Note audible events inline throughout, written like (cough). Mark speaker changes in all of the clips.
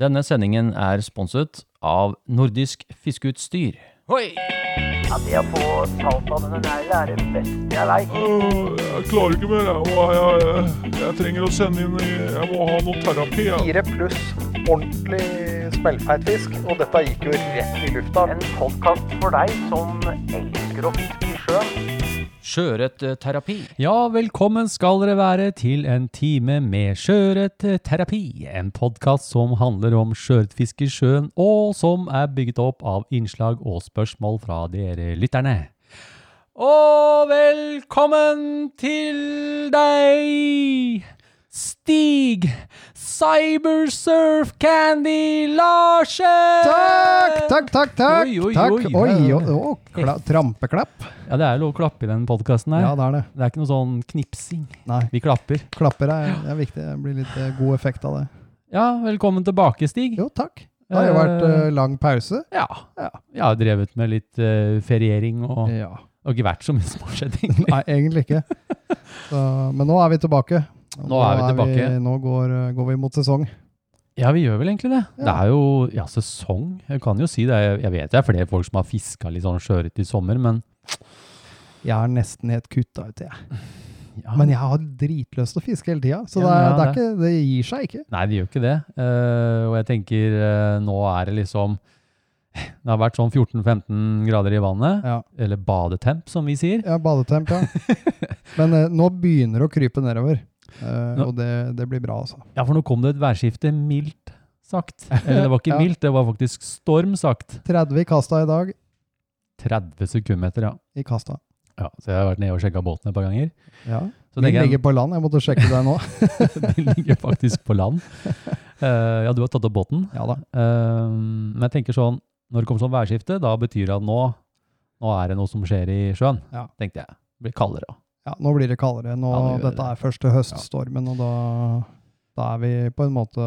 Speaker 1: Denne sendingen er sponset av Nordisk Fiskeutstyr.
Speaker 2: Hoi!
Speaker 3: Ja, det å få talt av denne neglen er det beste jeg veit.
Speaker 4: Øh, Jeg klarer ikke mer. Jeg, må, jeg, jeg, jeg trenger å sende inn Jeg må ha noe terapi. Jeg.
Speaker 5: fire pluss ordentlig smellfeit fisk, og dette gikk jo rett i lufta.
Speaker 3: En podkast for deg som elsker å fiske i sjøen.
Speaker 1: Sjøørretterapi.
Speaker 2: Ja, velkommen skal dere være til en time med Sjøørretterapi. eh, En podkast som handler om sjøørretfiske i sjøen, og som er bygget opp av innslag og spørsmål fra dere lytterne. Og velkommen til deg, Stig Cybersurf Candy Larsen!
Speaker 6: Takk, takk, takk. takk.
Speaker 2: Oi, oi,
Speaker 6: takk.
Speaker 2: oi.
Speaker 6: oi, oi, å, kla trampeklapp.
Speaker 2: Ja, det er lov å klappe i den podkasten her.
Speaker 6: Ja, det er det.
Speaker 2: Det er ikke noe sånn knipsing.
Speaker 6: Nei,
Speaker 2: Vi klapper.
Speaker 6: klapper er, det er viktig. Det blir litt eh, god effekt av det.
Speaker 2: Ja, velkommen tilbake, Stig.
Speaker 6: Jo, takk. Det har jo vært eh, lang pause.
Speaker 2: Ja. Jeg har drevet med litt eh, feriering og,
Speaker 6: Ja.
Speaker 2: og ikke vært så mye som har skjedd, egentlig.
Speaker 6: Nei, egentlig ikke. Så, men nå er vi tilbake. Og
Speaker 2: Nå er vi tilbake.
Speaker 6: nå går, eh, går vi mot sesong.
Speaker 2: (laughs) Ja, vi gjør vel egentlig det.
Speaker 6: Ja.
Speaker 2: Det er jo ja, sesong. Jeg kan jo si det. Jeg, jeg vet det er flere folk som har fiska litt sånn sjøørret i sommer, men
Speaker 6: Jeg er nesten helt kutta ut, jeg.
Speaker 2: ja,
Speaker 6: Men jeg har dritlyst til å fiske hele tida, så det, er,
Speaker 2: Ja,
Speaker 6: det,
Speaker 2: men
Speaker 6: er ikke, det gir seg ikke.
Speaker 2: Nei, det gjør ikke det. Eh, og jeg tenker eh, nå er det liksom Det har vært sånn 14-15 grader i vannet.
Speaker 6: Ja,
Speaker 2: Eller badetemp, som vi sier.
Speaker 6: ja
Speaker 2: (laughs)
Speaker 6: badetemp, ja. Men eh, nå begynner det å krype nedover, eh,
Speaker 2: Nå-
Speaker 6: og det, det blir bra, altså.
Speaker 2: Ja, for nå kom det et værskifte mildt sagt. Eller det var (laughs) ikke
Speaker 6: Ja.
Speaker 2: mildt, det var faktisk storm sagt.
Speaker 6: 30 i kasta i dag.
Speaker 2: 30 sekundmeter, ja.
Speaker 6: I kasta.
Speaker 2: ja. Så jeg har vært nede og sjekka båten et par ganger.
Speaker 6: Ja.
Speaker 2: Så
Speaker 6: Min
Speaker 2: tenker
Speaker 6: ligger på land. Jeg måtte sjekke deg nå.
Speaker 2: jeg, den ligger faktisk på land. Eh, (laughs) ja, du har tatt opp båten.
Speaker 6: Ja da.
Speaker 2: Eh, men jeg tenker sånn, når det kommer sånn værskifte, da betyr det at nå, nå er det noe som skjer i sjøen,
Speaker 6: Ja.
Speaker 2: tenkte jeg. Det blir kaldere.
Speaker 6: Ja, nå blir det kaldere. Nå,
Speaker 2: Ja, det gjør
Speaker 6: dette
Speaker 2: det.
Speaker 6: er første høststormen, og da, da er vi på en måte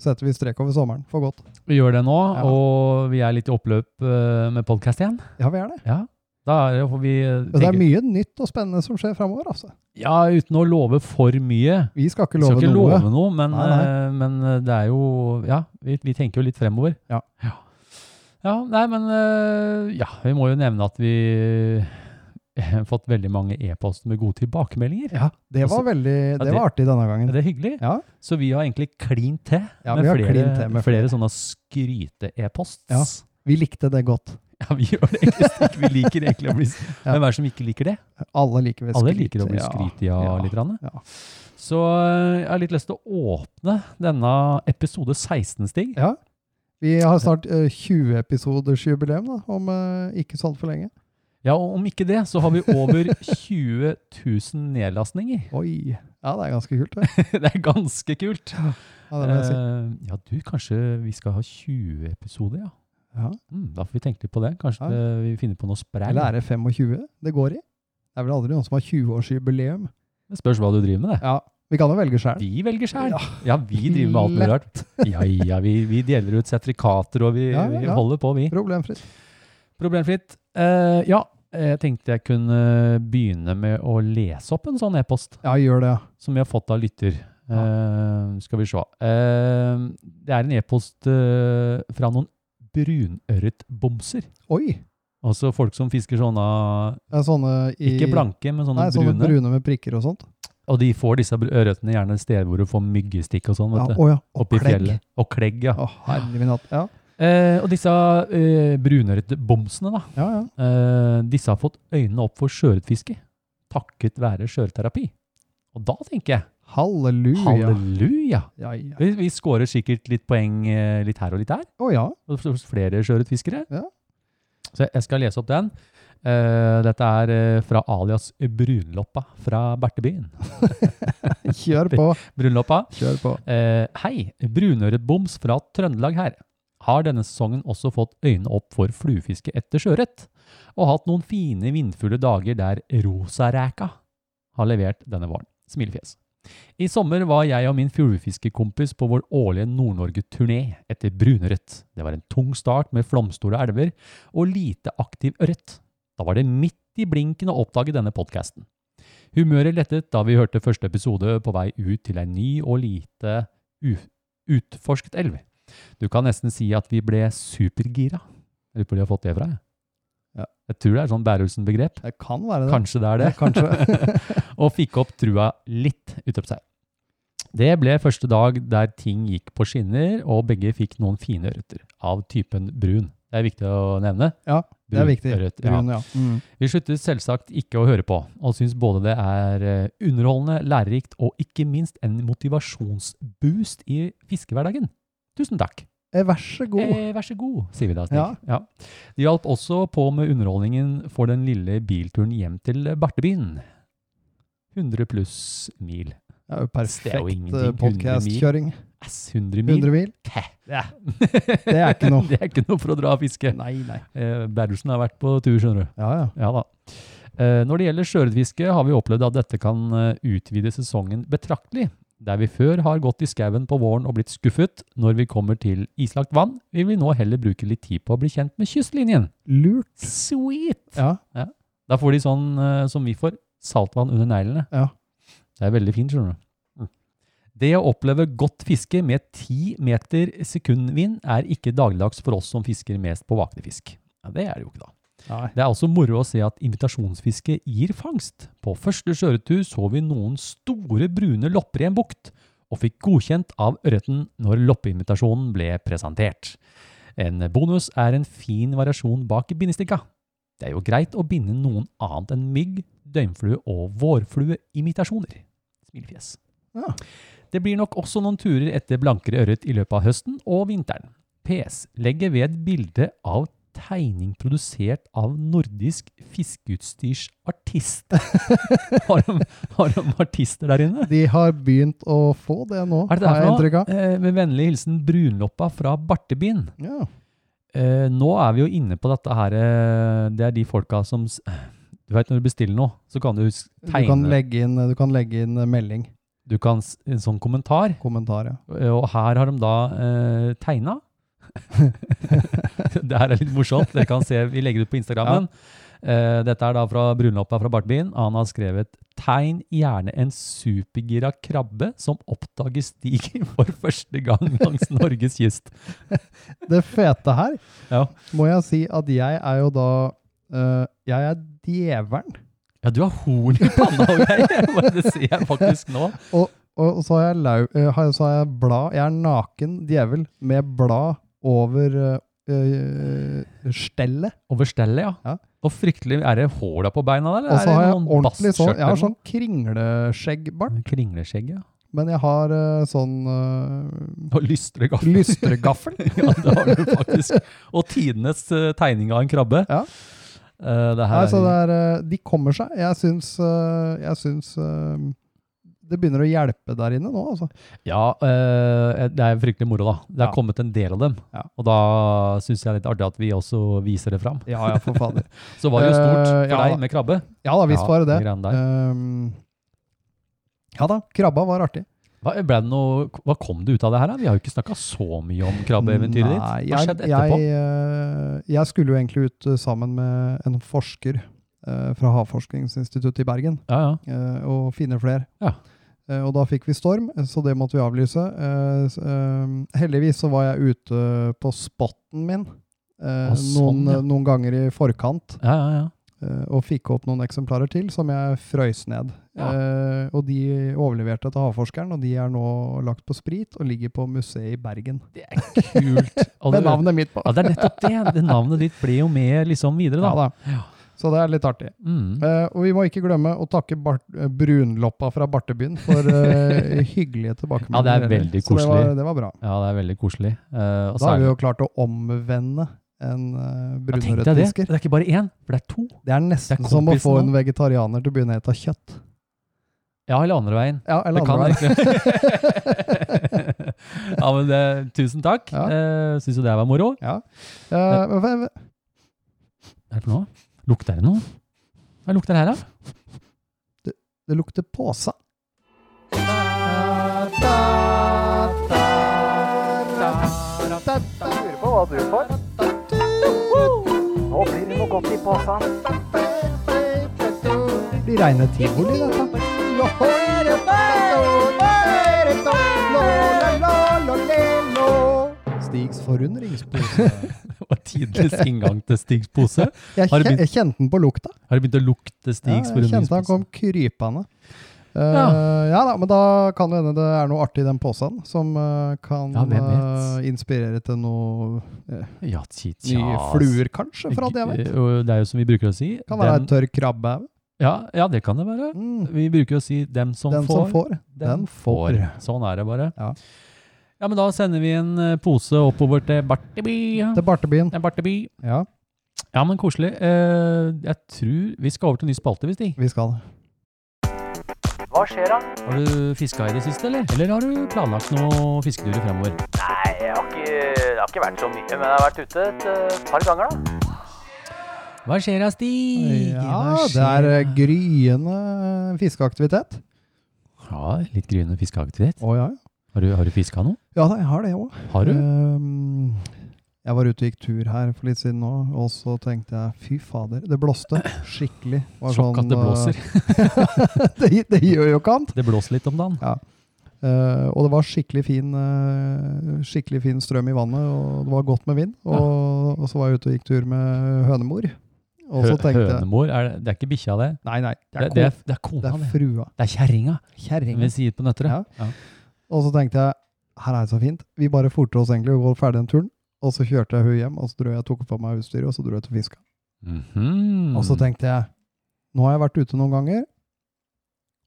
Speaker 6: Setter vi strek over sommeren for godt.
Speaker 2: Vi gjør det nå,
Speaker 6: Ja.
Speaker 2: og vi er litt i oppløp eh, med podkast igjen.
Speaker 6: Ja, vi er det.
Speaker 2: Ja. Da er det, for vi eh,
Speaker 6: Og det er
Speaker 2: tenker-
Speaker 6: mye nytt og spennende som skjer framover, altså.
Speaker 2: Ja, uten å love for mye.
Speaker 6: Vi skal ikke
Speaker 2: Vi skal
Speaker 6: love
Speaker 2: ikke
Speaker 6: noe.
Speaker 2: love noe, men,
Speaker 6: Nei, nei.
Speaker 2: eh, men eh, det er jo Ja, vi, vi tenker jo litt fremover.
Speaker 6: Ja.
Speaker 2: ja. Ja, nei, men eh, Ja, vi må jo nevne at vi (laughs) har fått veldig mange e-poster med gode tilbakemeldinger.
Speaker 6: Ja, det var
Speaker 2: Altså,
Speaker 6: veldig
Speaker 2: det-
Speaker 6: Det var artig denne
Speaker 2: Er
Speaker 6: gangen.
Speaker 2: det hyggelig?
Speaker 6: Ja,
Speaker 2: Så vi har egentlig klin til
Speaker 6: Ja, vi har klin til med
Speaker 2: flere sånne skryte-e-posts.
Speaker 6: Ja. vi likte det godt.
Speaker 2: (laughs) Ja, vi gjør det egentlig stikk. Vi liker egentlig å bli
Speaker 6: (laughs) Ja.
Speaker 2: Hvem er det som ikke liker det?
Speaker 6: Alle liker vel
Speaker 2: Alle
Speaker 6: skryt.
Speaker 2: liker å bli skrytet ja,
Speaker 6: ja,
Speaker 2: litt. Rann.
Speaker 6: ja.
Speaker 2: Så eh, jeg har litt lyst til å åpne denne episode 16, Stig.
Speaker 6: Ja. Vi har snart eh, 20 episoders jubileum da, om eh, ikke så altfor lenge.
Speaker 2: Ja, og om ikke det, så har vi over (laughs) 20 000 nedlastninger.
Speaker 6: Oi. Ja, det er ganske kult, det.
Speaker 2: (laughs) Det er ganske kult.
Speaker 6: Ja, det må jeg si.
Speaker 2: Eh, ja, du, kanskje vi skal ha 20 episoder, ja.
Speaker 6: Ja.
Speaker 2: Mm, da får vi tenke litt på det. Kanskje
Speaker 6: Ja.
Speaker 2: det- vi finner på noe sprell.
Speaker 6: Eller er det 25 det går i? Det er vel aldri noen som har 20-årsjubileum.
Speaker 2: Det spørs hva du driver med, det.
Speaker 6: Ja, vi kan jo velge sjøl.
Speaker 2: Vi velger sjøl. Ja. vi driver med alt mulig rart. (laughs) Ja, ja, vi, vi deler ut sertifikater, og vi,
Speaker 6: Ja,
Speaker 2: vi
Speaker 6: ja.
Speaker 2: holder på, vi.
Speaker 6: Problemfritt.
Speaker 2: Problemfritt. Eh, ja, jeg tenkte jeg kunne begynne med å lese opp en sånn e-post
Speaker 6: Ja, gjør det, ja.
Speaker 2: som vi har fått av lytter. Eh, skal vi se. Eh, det er en e-post eh, fra noen brunørretbomser.
Speaker 6: Oi!
Speaker 2: Altså folk som fisker sånne,
Speaker 6: Det er sånne i
Speaker 2: ikke blanke, men sånne
Speaker 6: Nei, sånne
Speaker 2: brune.
Speaker 6: brune. med prikker og sånt.
Speaker 2: Og de får disse br- ørretene gjerne steder hvor du får myggestikk og sånn,
Speaker 6: Ja,
Speaker 2: vet du.
Speaker 6: å ja. Og
Speaker 2: Oppi
Speaker 6: klegg.
Speaker 2: fjellet. Og klegg, ja.
Speaker 6: Å, herre min hatt. Ja.
Speaker 2: Eh, og disse eh, brunørretbomsene, da.
Speaker 6: ja, ja.
Speaker 2: Eh, disse har fått øynene opp for sjøørretfiske, takket være sjøørretterapi. Og da tenker jeg
Speaker 6: Halleluja.
Speaker 2: halleluja!
Speaker 6: Ja, ja.
Speaker 2: Vi, vi scorer sikkert litt poeng eh, litt her og litt der,
Speaker 6: Å ja.
Speaker 2: hos hos flere sjøørretfiskere.
Speaker 6: Ja.
Speaker 2: Så jeg skal lese opp den. Eh, dette er eh, fra alias Brunloppa fra Bertebyen.
Speaker 6: Kjør på.
Speaker 2: Brunloppa.
Speaker 6: Kjør på.
Speaker 2: Eh, hei, brunøretboms fra Trøndelag her. Har denne sesongen også fått øynene opp for fluefiske etter sjøørret, og hatt noen fine vindfulle dager der rosaræka har levert denne våren. Smilefjes. I sommer var jeg og min fluefiskekompis på vår årlige Nord-Norge-turné etter brunørret. Det var en tung start med flomstore elver og lite aktiv ørret. Da var det midt i blinken å oppdage denne podkasten. Humøret lettet da vi hørte første episode på vei ut til ei ny og lite u- utforsket elv. Du kan nesten si at vi ble supergira. Jeg lurer på hvor de har fått det fra. Jeg,
Speaker 6: Ja.
Speaker 2: jeg tror det er sånn Bærumsen-begrep.
Speaker 6: Det kan være det.
Speaker 2: Kanskje det er det.
Speaker 6: Kanskje.
Speaker 2: (laughs)
Speaker 6: (laughs)
Speaker 2: og fikk opp trua litt utop seg. Det ble første dag der ting gikk på skinner, og begge fikk noen fine ørreter av typen brun. Det er viktig å nevne.
Speaker 6: Ja, det er
Speaker 2: Brun
Speaker 6: viktig.
Speaker 2: ørret, ja.
Speaker 6: Brun, ja. Mm.
Speaker 2: Vi sluttet selvsagt ikke å høre på, og syns både det er eh, underholdende, lærerikt og ikke minst en motivasjonsboost i fiskehverdagen. Tusen takk.
Speaker 6: Eh, Vær så god.
Speaker 2: Eh, vær så god, sier vi da. Stig.
Speaker 6: Ja.
Speaker 2: Ja. De hjalp også på med underholdningen for den lille bilturen hjem til Bartebyen. 100 pluss mil.
Speaker 6: Det er jo
Speaker 2: Det er jo
Speaker 6: perfekt
Speaker 2: ingenting. 100 mil.
Speaker 6: podkastkjøring.
Speaker 2: Ass, 100 mil?
Speaker 6: 100 mil?
Speaker 2: Ja.
Speaker 6: Det er ikke
Speaker 2: (laughs)
Speaker 6: noe.
Speaker 2: det er ikke noe for å dra og fiske.
Speaker 6: Nei, nei.
Speaker 2: Eh, Berdelsen har vært på tur, skjønner du.
Speaker 6: Ja, ja.
Speaker 2: Ja da. Eh, Når det gjelder sjøørretfiske, har vi opplevd at dette kan eh, utvide sesongen betraktelig. Der vi før har gått i skauen på våren og blitt skuffet når vi kommer til islagt vann, vil vi nå heller bruke litt tid på å bli kjent med kystlinjen.
Speaker 6: Lurt.
Speaker 2: Sweet!
Speaker 6: Ja,
Speaker 2: Da får de sånn eh, som vi får, saltvann under neglene.
Speaker 6: Ja.
Speaker 2: Det er veldig fint, skjønner du. Det å oppleve godt fiske med 10 meter sekundvind er ikke dagligdags for oss som fisker mest på vakne fisk. Ja, det er det jo ikke da.
Speaker 6: Nei.
Speaker 2: Det er også moro å se at invitasjonsfiske gir fangst. På første sjøretur så vi noen store brune lopper i en bukt, og fikk godkjent av ørreten når loppeinvitasjonen ble presentert. En bonus er en fin variasjon bak bindestikka. Det er jo greit å binde noen annet enn mygg, døgnflue og vårflueimitasjoner. Smilefjes.
Speaker 6: Ja.
Speaker 2: Det blir nok også noen turer etter blankere ørret i løpet av høsten og vinteren. PS. Legger ved et bilde av tegning produsert av nordisk fiskeutstyrsartist.
Speaker 6: (laughs)
Speaker 2: har, de, har de artister der inne?
Speaker 6: De har begynt å få det nå,
Speaker 2: Er det der
Speaker 6: har jeg
Speaker 2: for
Speaker 6: inntrykk
Speaker 2: noe?
Speaker 6: av.
Speaker 2: Eh, med vennlig hilsen Brunloppa fra Bartebyen.
Speaker 6: Ja.
Speaker 2: Eh, nå er vi jo inne på dette her eh, Det er de folka som s- Du vet når du bestiller noe, så kan du s-
Speaker 6: Du
Speaker 2: tegne
Speaker 6: kan, legge inn, du kan legge inn eh, melding,
Speaker 2: du kan s- en sånn kommentar.
Speaker 6: kommentar, ja.
Speaker 2: Eh, Og her har de da eh, tegna. (laughs) det her er litt morsomt. Dere kan se, vi legger det ut på Instagrammen. Eh, dette er da fra Brunloppa fra Bartbyen. Han har skrevet Tegn gjerne en supergira krabbe som oppdager stigen for første gang langs Norges kyst.
Speaker 6: Det fete her
Speaker 2: Ja.
Speaker 6: må jeg si at jeg er jo da eh, Jeg er djevelen.
Speaker 2: Ja, du har horn i panna og greier. Bare Det ser jeg faktisk nå.
Speaker 6: Og og så har jeg, lau, eh, har- så har jeg blad Jeg er naken djevel med blad over eh, eh, stellet.
Speaker 2: Over stellet, ja.
Speaker 6: Ja.
Speaker 2: Og fryktelig Er det håla på beina der? eller
Speaker 6: Og
Speaker 2: er
Speaker 6: så
Speaker 2: det
Speaker 6: har jeg
Speaker 2: noen
Speaker 6: ordentlig sånn
Speaker 2: basskjørt
Speaker 6: Jeg har
Speaker 2: eller
Speaker 6: sånn kringleskjeggbart,
Speaker 2: noe? Kringleskjegg, ja.
Speaker 6: men jeg har eh, sånn eh,
Speaker 2: Og lystregaffel.
Speaker 6: lystregaffel.
Speaker 2: (laughs) ja, det har du faktisk. Og tidenes eh, tegning av en krabbe.
Speaker 6: Ja.
Speaker 2: Eh, det her
Speaker 6: Nei, så det
Speaker 2: er,
Speaker 6: er, eh, de kommer seg. Jeg syns, eh, jeg syns eh, det begynner å hjelpe der inne nå, altså.
Speaker 2: ja, eh, det er fryktelig moro, da. Det er
Speaker 6: Ja.
Speaker 2: kommet en del av dem.
Speaker 6: Ja.
Speaker 2: Og da syns jeg det er litt artig at vi også viser det fram.
Speaker 6: Ja, ja, for fader.
Speaker 2: Så var det jo stort
Speaker 6: Eh,
Speaker 2: for
Speaker 6: ja da.
Speaker 2: deg med krabbe.
Speaker 6: (laughs) Ja da, visst
Speaker 2: Ja,
Speaker 6: var det
Speaker 2: de
Speaker 6: det.
Speaker 2: greiene der.
Speaker 6: Um, ja da, krabba var artig.
Speaker 2: Hva, ble det noe, hva kom det ut av det her? da? Vi har jo ikke snakka så mye om krabbeeventyret ditt.
Speaker 6: Nei,
Speaker 2: Hva
Speaker 6: jeg-
Speaker 2: skjedde etterpå?
Speaker 6: Jeg, eh, jeg skulle jo egentlig ut eh, sammen med en forsker eh, fra Havforskningsinstituttet i Bergen.
Speaker 2: Ja, ja.
Speaker 6: eh, og finne flere.
Speaker 2: Ja.
Speaker 6: Eh, og da fikk vi storm, eh, så det måtte vi avlyse. Eh, s- eh, heldigvis så var jeg ute på spotten min eh,
Speaker 2: Å, sånn,
Speaker 6: noen,
Speaker 2: ja.
Speaker 6: noen ganger i forkant
Speaker 2: ja, ja, ja.
Speaker 6: eh, og fikk opp noen eksemplarer til som jeg frøys ned.
Speaker 2: Ja.
Speaker 6: Eh, og de overleverte til havforskeren, og de er nå lagt på sprit og ligger på museet i Bergen.
Speaker 2: Det er kult.
Speaker 6: (laughs)
Speaker 2: Og
Speaker 6: Med
Speaker 2: det,
Speaker 6: navnet mitt på!
Speaker 2: ja, det er nettopp det. det. Navnet ditt ble jo med liksom videre,
Speaker 6: Ja
Speaker 2: da.
Speaker 6: da. Så det er litt artig.
Speaker 2: Mm.
Speaker 6: Eh, og vi må ikke glemme å takke Bart eh, Brunloppa fra Bartebyen for
Speaker 2: (laughs)
Speaker 6: eh, hyggelige tilbakemeldinger.
Speaker 2: Ja, det er veldig
Speaker 6: Så det var,
Speaker 2: koselig.
Speaker 6: det var bra.
Speaker 2: Ja, det er veldig koselig. Eh, og
Speaker 6: Da har vi
Speaker 2: særlig-
Speaker 6: jo klart å omvende en uh,
Speaker 2: Ja, tenk deg det.
Speaker 6: brunørretfisker.
Speaker 2: Det er ikke bare én, for det er to.
Speaker 6: Det er nesten
Speaker 2: Det er
Speaker 6: som å få
Speaker 2: kompisen,
Speaker 6: en vegetarianer til å begynne å ete kjøtt.
Speaker 2: Ja, eller andre veien.
Speaker 6: Ja, eller
Speaker 2: det kan
Speaker 6: andre veien. (laughs)
Speaker 2: egentlig. (laughs) ja, men det, tusen takk.
Speaker 6: Ja.
Speaker 2: Eh, Syns jo det var moro.
Speaker 6: Eh, hva- hva-
Speaker 2: Hva er det for noe? Lukter det noe? Hva lukter
Speaker 6: (laughs)
Speaker 2: det her, da?
Speaker 6: det lukter påse.
Speaker 5: Lurer på hva du får. Nå blir det noe godt i posen.
Speaker 6: Det blir reine tivoli, dette. Stigs forundringspose.
Speaker 2: Det var tidenes inngang til Stigs pose.
Speaker 6: Jeg,
Speaker 2: Har du
Speaker 6: kje-
Speaker 2: begynt-
Speaker 6: jeg kjente den på lukta.
Speaker 2: Har det begynt å lukte
Speaker 6: Ja,
Speaker 2: Stigs
Speaker 6: jeg kjente han
Speaker 2: forundringspose?
Speaker 6: kom krypende. Eh, ja.
Speaker 2: Ja.
Speaker 6: da, men da kan det hende det er noe artig i den posen som eh, kan
Speaker 2: Ja, hvem
Speaker 6: eh, inspirere til noe
Speaker 2: Ja, tja, tja.
Speaker 6: nye fluer, kanskje, fra det jeg vet.
Speaker 2: Og Det er jo som vi bruker å si.
Speaker 6: Kan være
Speaker 2: den-
Speaker 6: en tørr krabbe.
Speaker 2: ja, ja, det kan det være.
Speaker 6: Mm.
Speaker 2: Vi bruker å si 'dem som
Speaker 6: Den
Speaker 2: får'.
Speaker 6: som får, den får.
Speaker 2: Sånn er det bare.
Speaker 6: Ja.
Speaker 2: Ja, men da sender vi en eh, pose oppover til Barteby.
Speaker 6: Til bartebyen.
Speaker 2: Det er Barteby.
Speaker 6: Ja,
Speaker 2: Ja, men koselig. Eh, jeg tror vi skal over til ny spalte, hvis de.
Speaker 6: vi skal.
Speaker 3: Hva skjer da?
Speaker 2: Har du fiska i det siste, eller? Eller har du planlagt noe fisketurer fremover?
Speaker 3: Nei, jeg har ikke, det har ikke vært så mye, men jeg har vært ute et eh, par ganger da.
Speaker 2: Hva skjer da, Stig?
Speaker 6: Ja,
Speaker 2: Hva
Speaker 6: det
Speaker 2: skjer
Speaker 6: er eh,
Speaker 2: da?
Speaker 6: gryende fiskeaktivitet.
Speaker 2: Ja, litt gryende fiskeaktivitet.
Speaker 6: Å ja, ja.
Speaker 2: Har du, har du fiska noe?
Speaker 6: Ja da, jeg har det òg.
Speaker 2: Har du?
Speaker 6: Ehm, Jeg var ute og gikk tur her for litt siden nå, og så tenkte jeg fy fader, det blåste skikkelig. Det var
Speaker 2: Sjokk at det
Speaker 6: eh,
Speaker 2: blåser.
Speaker 6: (laughs) det, det gjør jo ikke annet.
Speaker 2: Det blåser litt om dagen.
Speaker 6: Eh, og det var skikkelig fin, eh, skikkelig fin strøm i vannet, og det var godt med vind. Og, og så var jeg ute og gikk tur med hønemor. Og så
Speaker 2: Hø-
Speaker 6: tenkte jeg
Speaker 2: Hønemor, er det, det er ikke bikkja, det.
Speaker 6: Nei, nei, det
Speaker 2: Det,
Speaker 6: er,
Speaker 2: det, er,
Speaker 6: ko-
Speaker 2: det er kona,
Speaker 6: det er
Speaker 2: det.
Speaker 6: frua.
Speaker 2: Det er kjerringa, som
Speaker 6: Kjerringa.
Speaker 2: vi sier på Nøtterøy.
Speaker 6: Ja. Og så tenkte jeg her er det så fint. Vi bare forter oss egentlig og går ferdig den turen. Og så kjørte jeg hun hjem, og så dro jeg, tok på meg utstyret, og så dro jeg til fiska.
Speaker 2: Mhm.
Speaker 6: Og så tenkte jeg nå har jeg vært ute noen ganger,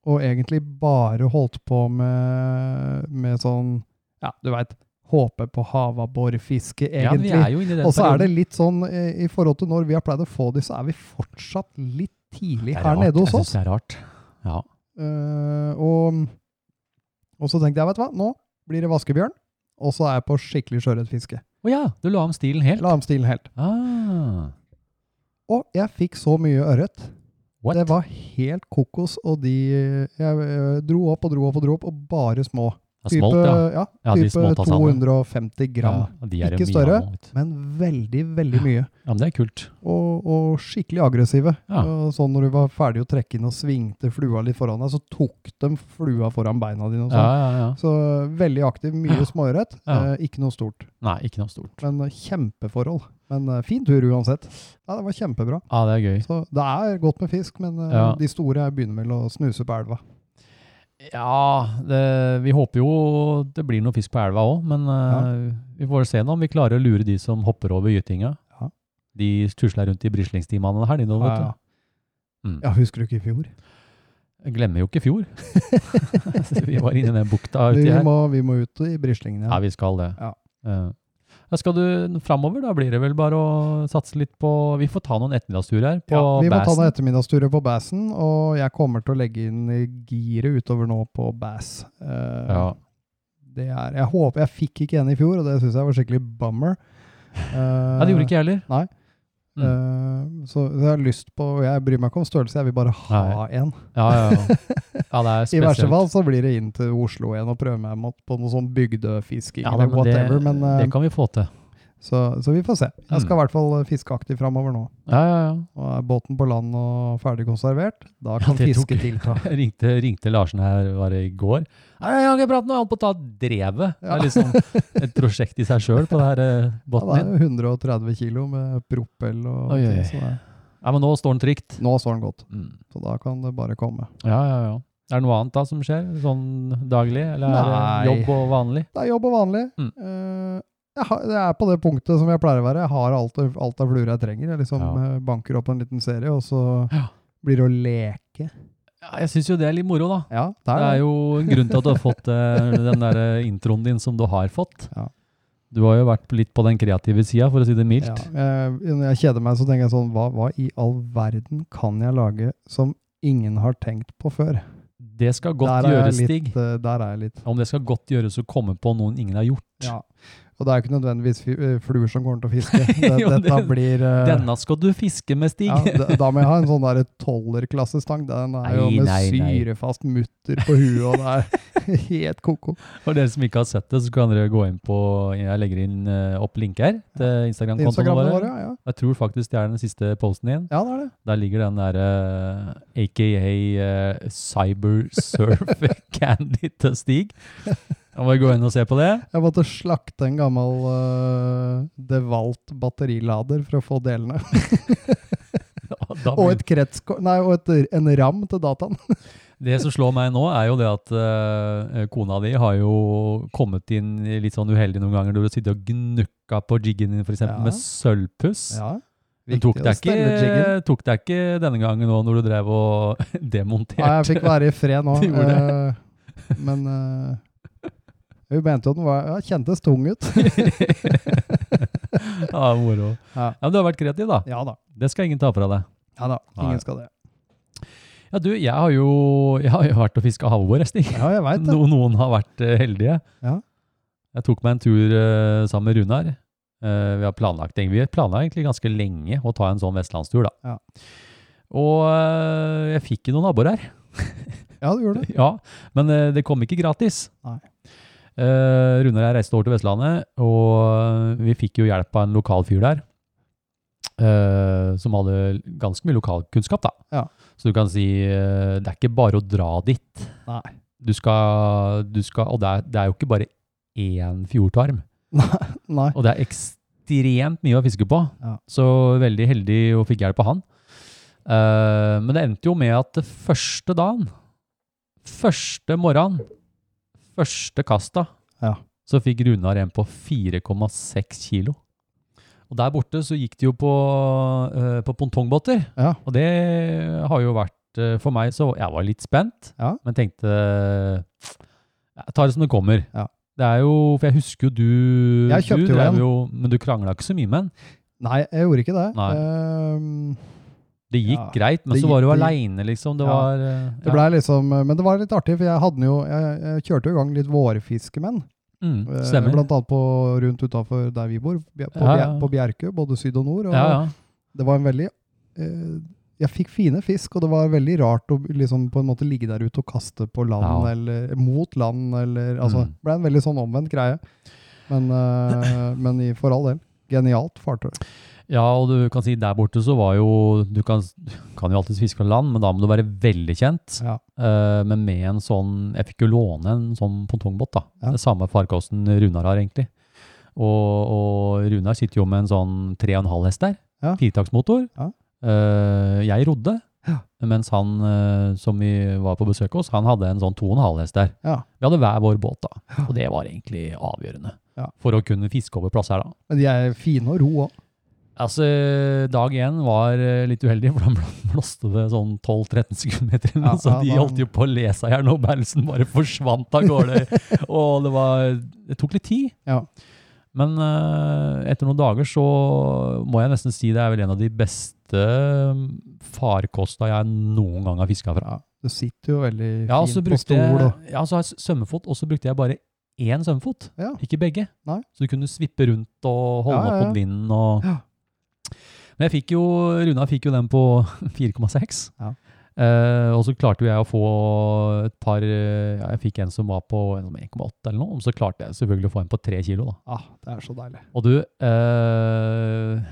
Speaker 6: og egentlig bare holdt på med, med sånn Ja, du veit. Håpe på havabborfiske,
Speaker 2: Ja,
Speaker 6: egentlig.
Speaker 2: vi er jo inne i den
Speaker 6: og så er det
Speaker 2: perioden.
Speaker 6: litt sånn eh, i forhold til når vi har pleid å få de, så er vi fortsatt litt tidlig
Speaker 2: Det er
Speaker 6: her
Speaker 2: rart.
Speaker 6: nede hos
Speaker 2: Jeg
Speaker 6: oss.
Speaker 2: synes Det er rart. Ja.
Speaker 6: Eh, og, og så tenkte jeg, vet du hva, nå blir det vaskebjørn, og så er jeg på skikkelig sjøørretfiske.
Speaker 2: Å ja, du la om stilen helt.
Speaker 6: La om stilen helt.
Speaker 2: Ah,
Speaker 6: Og jeg fikk så mye ørret.
Speaker 2: what?
Speaker 6: Det var helt kokos, og de Jeg eh, dro opp og dro opp og dro opp, og bare små.
Speaker 2: Det er smolt, ja.
Speaker 6: ja.
Speaker 2: Ja, de
Speaker 6: type
Speaker 2: småtassene.
Speaker 6: 250 gram.
Speaker 2: Ja, de er jo
Speaker 6: Ikke
Speaker 2: mye
Speaker 6: større.
Speaker 2: av noe, vet du.
Speaker 6: Men veldig, veldig mye.
Speaker 2: Ja, men det er kult.
Speaker 6: og, og skikkelig aggressive.
Speaker 2: Ja.
Speaker 6: Og Sånn når du var ferdig å trekke inn og svingte flua litt foran deg, så tok de flua foran beina dine.
Speaker 2: Ja,
Speaker 6: og sånn.
Speaker 2: ja, ja.
Speaker 6: Så veldig aktiv, mye
Speaker 2: Ja.
Speaker 6: småørret.
Speaker 2: Ja.
Speaker 6: Eh, ikke noe stort,
Speaker 2: Nei, ikke noe stort.
Speaker 6: men eh, kjempeforhold. Men eh, fin tur uansett. Ja, det var kjempebra.
Speaker 2: Ja, det er gøy.
Speaker 6: Så det er godt med fisk, men eh,
Speaker 2: Ja.
Speaker 6: de store er- begynner vel å snuse på elva.
Speaker 2: Ja, det, vi håper jo det blir noe fisk på elva òg, men eh, vi får se nå om vi klarer å lure de som hopper over gytinga.
Speaker 6: Ja.
Speaker 2: De tusler rundt i brislingstimene her, de nå, vet
Speaker 6: Ja, ja.
Speaker 2: du. Mm.
Speaker 6: ja, husker du ikke i fjor?
Speaker 2: Jeg Glemmer jo ikke
Speaker 6: (laughs)
Speaker 2: fjor. (laughs) vi var inne i den bukta
Speaker 6: Vi,
Speaker 2: uti
Speaker 6: vi,
Speaker 2: her.
Speaker 6: må, vi må ut i brislingene.
Speaker 2: Ja,
Speaker 6: igjen.
Speaker 2: vi skal det.
Speaker 6: Ja.
Speaker 2: Eh, ja, skal du framover, da blir det vel bare å satse litt på Vi får ta noen ettermiddagsturer her på
Speaker 6: Ja, vi må ta
Speaker 2: Bassen.
Speaker 6: noen ettermiddagsturer på Bassen, og jeg kommer til å legge inn i giret utover nå på Bass. Eh,
Speaker 2: Ja.
Speaker 6: Det er, jeg håper, jeg fikk ikke en i fjor, og det synes jeg var skikkelig bummer.
Speaker 2: (laughs)
Speaker 6: Eh,
Speaker 2: ja, det gjorde ikke jeg heller.
Speaker 6: (laughs) så, så jeg har lyst på, og jeg bryr meg ikke om størrelse, jeg vil bare ha en.
Speaker 2: Ja, ja, ja. ja, det er
Speaker 6: I verste
Speaker 2: spesielt.
Speaker 6: fall så blir det inn til Oslo igjen og prøve meg mot- på noe sånn bygdefisking
Speaker 2: Ja, da,
Speaker 6: eller
Speaker 2: men det,
Speaker 6: whatever, men, eh,
Speaker 2: det kan vi få til.
Speaker 6: så, så vi får se. Jeg skal
Speaker 2: Mm.
Speaker 6: i hvert fall eh, fiske aktivt fremover nå.
Speaker 2: Ja, ja, ja.
Speaker 6: Og er båten på land og ferdig konservert, da
Speaker 2: Ja,
Speaker 6: kan
Speaker 2: det tok-
Speaker 6: fiske tilta.
Speaker 2: Jeg ringte, ringte Larsen her var det i går. Nei, jeg har ikke pratet nå, jeg holdt på å ta drevet. Det er liksom et prosjekt i seg sjøl på det her eh,
Speaker 6: Ja,
Speaker 2: båten
Speaker 6: det er
Speaker 2: min.
Speaker 6: jo 130 kilo med propell og
Speaker 2: Oi, oi, oi.
Speaker 6: ting. Så det,
Speaker 2: Nei, men nå står den trygt.
Speaker 6: nå står den godt,
Speaker 2: Mm.
Speaker 6: så da kan det bare komme.
Speaker 2: Ja, ja, ja. Er det noe annet da som skjer, sånn daglig? Eller er det
Speaker 6: Nei.
Speaker 2: jobb og vanlig?
Speaker 6: Det er jobb og vanlig.
Speaker 2: Mm.
Speaker 6: Eh, jeg har, det er på det punktet som jeg pleier å være. Jeg har alt, av- alt av fluer jeg trenger. Jeg liksom
Speaker 2: Ja.
Speaker 6: eh, banker opp en liten serie, og så
Speaker 2: Ja.
Speaker 6: blir det å leke.
Speaker 2: Ja, jeg syns jo det er litt moro, da.
Speaker 6: Ja, det
Speaker 2: Det
Speaker 6: er
Speaker 2: er
Speaker 6: det.
Speaker 2: jo en grunn til at du har fått eh, den der eh, introen din som du har fått.
Speaker 6: Ja.
Speaker 2: Du har jo vært litt på den kreative sida, for å si det mildt.
Speaker 6: Ja, eh, når jeg kjeder meg, så tenker jeg sånn hva, hva i all verden kan jeg lage som ingen har tenkt på før?
Speaker 2: Det skal godt
Speaker 6: Der er jeg
Speaker 2: gjøres,
Speaker 6: litt,
Speaker 2: Stig.
Speaker 6: eh, der er jeg litt.
Speaker 2: Om det skal godt gjøres å komme på noen ingen har gjort.
Speaker 6: Ja. Og det er jo ikke nødvendigvis fi- eh, fluer som kommer til å
Speaker 2: (laughs)
Speaker 6: fiske. Det,
Speaker 2: Jo,
Speaker 6: dette
Speaker 2: det-
Speaker 6: blir eh,
Speaker 2: Denne skal du fiske med, Stig!
Speaker 6: Ja, da, da må jeg ha en sånn der tollerklassestang. Den er jo
Speaker 2: Nei,
Speaker 6: med
Speaker 2: nei, nei.
Speaker 6: syrefast mutter på huet, og det er (laughs) helt koko.
Speaker 2: (laughs) For dere som ikke har sett det, så kan dere gå inn på Jeg legger inn eh, opp link her til Instagram-kontoen vår.
Speaker 6: Instagramene våre, ja, ja.
Speaker 2: Jeg tror faktisk det er den siste posten din.
Speaker 6: Ja, det er det.
Speaker 2: Der ligger den derre eh,
Speaker 6: (laughs)
Speaker 2: aka eh, Cybersurf Candy til Stig. Da må vi gå inn og se på det.
Speaker 6: Jeg måtte slakte en gammel eh, DeWalt batterilader for å få delene.
Speaker 2: Da
Speaker 6: Og
Speaker 2: blir-
Speaker 6: et kretskort Nei, og et, en ram til dataen.
Speaker 2: Det som slår meg nå, er jo det at eh, kona di har jo kommet inn i litt sånn uheldig noen ganger. Du har sittet og gnukka på jiggen din, f.eks.
Speaker 6: Ja.
Speaker 2: med sølvpuss.
Speaker 6: Ja.
Speaker 2: Men tok
Speaker 6: viktig å
Speaker 2: deg,
Speaker 6: stelle jiggen.
Speaker 2: ikke, eh, tok deg ikke denne gangen nå når du drev og (laughs) demonterte?
Speaker 6: Nei, jeg fikk være i fred nå.
Speaker 2: Du (laughs) gjorde
Speaker 6: eh, men eh, hun mente jo den var ja, kjentes tung ut.
Speaker 2: (laughs) ja, moro. Ja.
Speaker 6: Ja.
Speaker 2: men du har vært kreativ, da.
Speaker 6: Ja da.
Speaker 2: Det skal ingen ta fra deg.
Speaker 6: Ja da.
Speaker 2: Nei.
Speaker 6: Ingen skal det.
Speaker 2: Ja, du, jeg har jo, jeg har jo vært og fiska havbor, Stig.
Speaker 6: Ja, jeg veit det.
Speaker 2: No, noen har vært eh, heldige.
Speaker 6: Ja.
Speaker 2: Jeg tok meg en tur eh, sammen med Runar. Eh, vi har planlagt det. Vi planla egentlig ganske lenge å ta en sånn vestlandstur, da.
Speaker 6: Ja.
Speaker 2: Og eh, jeg fikk jo noen abborer her.
Speaker 6: Ja, du gjorde det.
Speaker 2: (laughs) Ja, men eh, det kom ikke gratis.
Speaker 6: Nei.
Speaker 2: Eh, Runar og jeg reiste over til Vestlandet, og eh, vi fikk jo hjelp av en lokal fyr der. eh, som hadde ganske mye lokalkunnskap, da.
Speaker 6: Ja.
Speaker 2: Så du kan si eh, det er ikke bare å dra dit.
Speaker 6: Nei.
Speaker 2: Du skal, du skal Og det er, det er jo ikke bare én fjordtarm.
Speaker 6: Nei.
Speaker 2: Og det er ekstremt mye å fiske på.
Speaker 6: Ja.
Speaker 2: Så veldig heldig og fikk hjelp av han. Eh, men det endte jo med at det første dagen, første morgenen, første kasta,
Speaker 6: Ja.
Speaker 2: så fikk Runar en på 4,6 kilo. Og der borte så gikk det jo på, eh, på pongtongbåter.
Speaker 6: Ja.
Speaker 2: Og det har jo vært eh, for meg, så jeg var litt spent,
Speaker 6: Ja.
Speaker 2: men tenkte jeg tar det som det kommer.
Speaker 6: Ja.
Speaker 2: Det er jo, for jeg husker jo du
Speaker 6: Jeg
Speaker 2: du
Speaker 6: kjøpte jo
Speaker 2: drev
Speaker 6: en.
Speaker 2: Men du krangla ikke så mye med den.
Speaker 6: Nei, jeg gjorde ikke det.
Speaker 2: Nei.
Speaker 6: Ehm,
Speaker 2: Det gikk
Speaker 6: Ja,
Speaker 2: greit, men
Speaker 6: det
Speaker 2: så var du
Speaker 6: gikk- det
Speaker 2: aleine, liksom. Det
Speaker 6: Ja.
Speaker 2: var eh,
Speaker 6: det
Speaker 2: ja.
Speaker 6: ble liksom, men det var litt artig, for jeg, hadde den jo, jeg, jeg kjørte jo i gang litt vårfiskemenn.
Speaker 2: mm,
Speaker 6: Eh,
Speaker 2: Stemmer.
Speaker 6: Blant annet på, rundt utafor der vi bor, bje- på,
Speaker 2: Ja,
Speaker 6: Bjer-
Speaker 2: ja.
Speaker 6: på Bjerke, både syd og nord. Og
Speaker 2: ja, ja.
Speaker 6: Det var en veldig eh, Jeg fikk fine fisk, og det var veldig rart å liksom, på en måte ligge der ute og kaste på land,
Speaker 2: Ja.
Speaker 6: eller mot land, eller altså,
Speaker 2: Mm.
Speaker 6: Det ble en veldig sånn omvendt greie. Men,
Speaker 2: (laughs)
Speaker 6: eh, men i, for all del. Genialt fartøy.
Speaker 2: ja, og du kan si der borte så var jo Du kan, kan jo alltids fiske fra land, men da må du være veldig kjent.
Speaker 6: Ja.
Speaker 2: Eh, men med en sånn Jeg fikk jo låne en sånn pongtongbåt, da.
Speaker 6: Ja.
Speaker 2: Det samme farkosten Runar har, egentlig. Og, og Runar sitter jo med en sånn 3,5 hest der.
Speaker 6: Ja.
Speaker 2: Firetaktsmotor.
Speaker 6: Ja.
Speaker 2: Eh, jeg rodde,
Speaker 6: Ja.
Speaker 2: mens han eh, som vi var på besøk hos, han hadde en sånn 2,5 hest der.
Speaker 6: Ja.
Speaker 2: Vi hadde hver vår båt, da. Og det var egentlig avgjørende
Speaker 6: Ja.
Speaker 2: for å kunne fiske over plasser her, da.
Speaker 6: Men de er fine å ro òg.
Speaker 2: Altså, dag én var eh, litt uheldig, for da bl- blåste det sånn 12-13 sekundmeter eller noe,
Speaker 6: Ja,
Speaker 2: så
Speaker 6: ja,
Speaker 2: de
Speaker 6: da-
Speaker 2: holdt jo på å le seg i hjel, og bærelsen bare forsvant av gårde. (laughs) og det var Det tok litt tid.
Speaker 6: Ja.
Speaker 2: Men eh, etter noen dager så må jeg nesten si det er vel en av de beste mm, farkosta jeg noen gang har fiska fra.
Speaker 6: Ja, du sitter jo veldig
Speaker 2: Ja, og så
Speaker 6: fint på
Speaker 2: brukte
Speaker 6: stol.
Speaker 2: jeg,
Speaker 6: Og,
Speaker 2: ja, så har jeg s- svømmefot, og så brukte jeg bare én svømmefot,
Speaker 6: Ja.
Speaker 2: ikke begge.
Speaker 6: Nei.
Speaker 2: Så du kunne svippe rundt og holde
Speaker 6: Ja, ja,
Speaker 2: opp
Speaker 6: ja.
Speaker 2: mot vinden. Og...
Speaker 6: Ja.
Speaker 2: Men jeg fikk jo, Runa fikk jo den på (laughs) 4,6.
Speaker 6: Ja.
Speaker 2: Eh, og så klarte jo jeg å få et par eh, ja, Jeg fikk en som var på en som 1,8 eller noe, og så klarte jeg selvfølgelig å få en på 3 kilo. da.
Speaker 6: ah, det er så deilig.
Speaker 2: Og du, eh,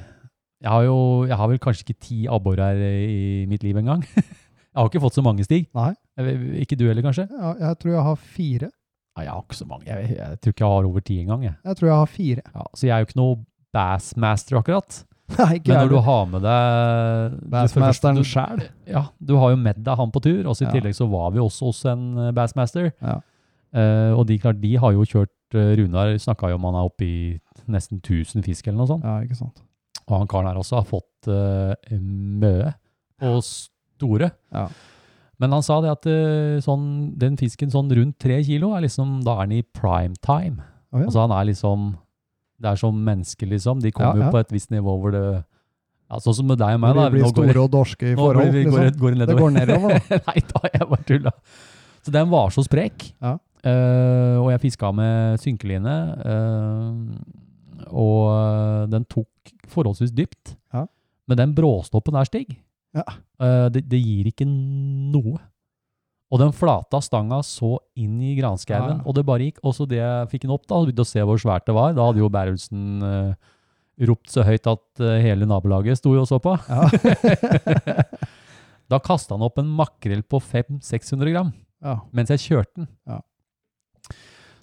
Speaker 2: jeg har jo jeg har vel kanskje ikke ti abborer i mitt liv engang. (laughs) jeg har ikke fått så mange, Stig.
Speaker 6: Nei.
Speaker 2: Jeg vet- Ikke du heller, kanskje?
Speaker 6: Ja, jeg tror jeg har fire.
Speaker 2: Nei, jeg har ikke så mange. Jeg, jeg tror ikke jeg har over ti engang. Jeg.
Speaker 6: Jeg tror jeg har fire. (laughs)
Speaker 2: Ja, så jeg er jo ikke noe bassmaster akkurat.
Speaker 6: Nei, ikke
Speaker 2: Men når du
Speaker 6: jeg.
Speaker 2: har med deg du-
Speaker 6: Bassmasteren
Speaker 2: du-
Speaker 6: sjæl.
Speaker 2: Ja, du har jo med deg han på tur. Også I
Speaker 6: Ja.
Speaker 2: tillegg så var vi også hos en eh, bassmaster.
Speaker 6: Ja.
Speaker 2: Eh, og de, klart, de har jo kjørt eh, Runar snakka jo om han er oppe i nesten 1000 fisk eller noe sånt.
Speaker 6: Ja, ikke sant.
Speaker 2: Og han karen her også har fått eh, møe og store.
Speaker 6: Ja.
Speaker 2: Men han sa det at eh, sånn, den fisken sånn rundt tre kilo, er liksom, da er den i prime time.
Speaker 6: Å, ja.
Speaker 2: Altså han er liksom, det er som mennesker liksom, de kommer
Speaker 6: Ja, ja.
Speaker 2: jo på et visst nivå hvor det, ja, sånn som med deg og meg da.
Speaker 6: de blir
Speaker 2: nå går-
Speaker 6: store og dorske
Speaker 2: (laughs)
Speaker 6: i
Speaker 2: nå
Speaker 6: forhold.
Speaker 2: blir vi, går,
Speaker 6: liksom.
Speaker 2: går
Speaker 6: Det
Speaker 2: nedover.
Speaker 6: går nedover, da.
Speaker 2: (laughs) Nei, da har jeg bare tulla. Så den var så sprek.
Speaker 6: Ja.
Speaker 2: Eh, og jeg fiska med synkeline. eh, og den tok forholdsvis dypt.
Speaker 6: Ja.
Speaker 2: Men den bråstoppen der, Stig,
Speaker 6: Ja.
Speaker 2: eh, det, det gir ikke noe. Og den flata stanga så inn i granskauen,
Speaker 6: Ja.
Speaker 2: og det bare gikk. Og så det jeg fikk den opp, da, og begynte å se hvor svært det var. Da hadde jo Berrelsen eh, ropt så høyt at eh, hele nabolaget sto jo og så på. da kasta han opp en makrell på 500-600 gram
Speaker 6: Ja.
Speaker 2: mens jeg kjørte den.
Speaker 6: Ja.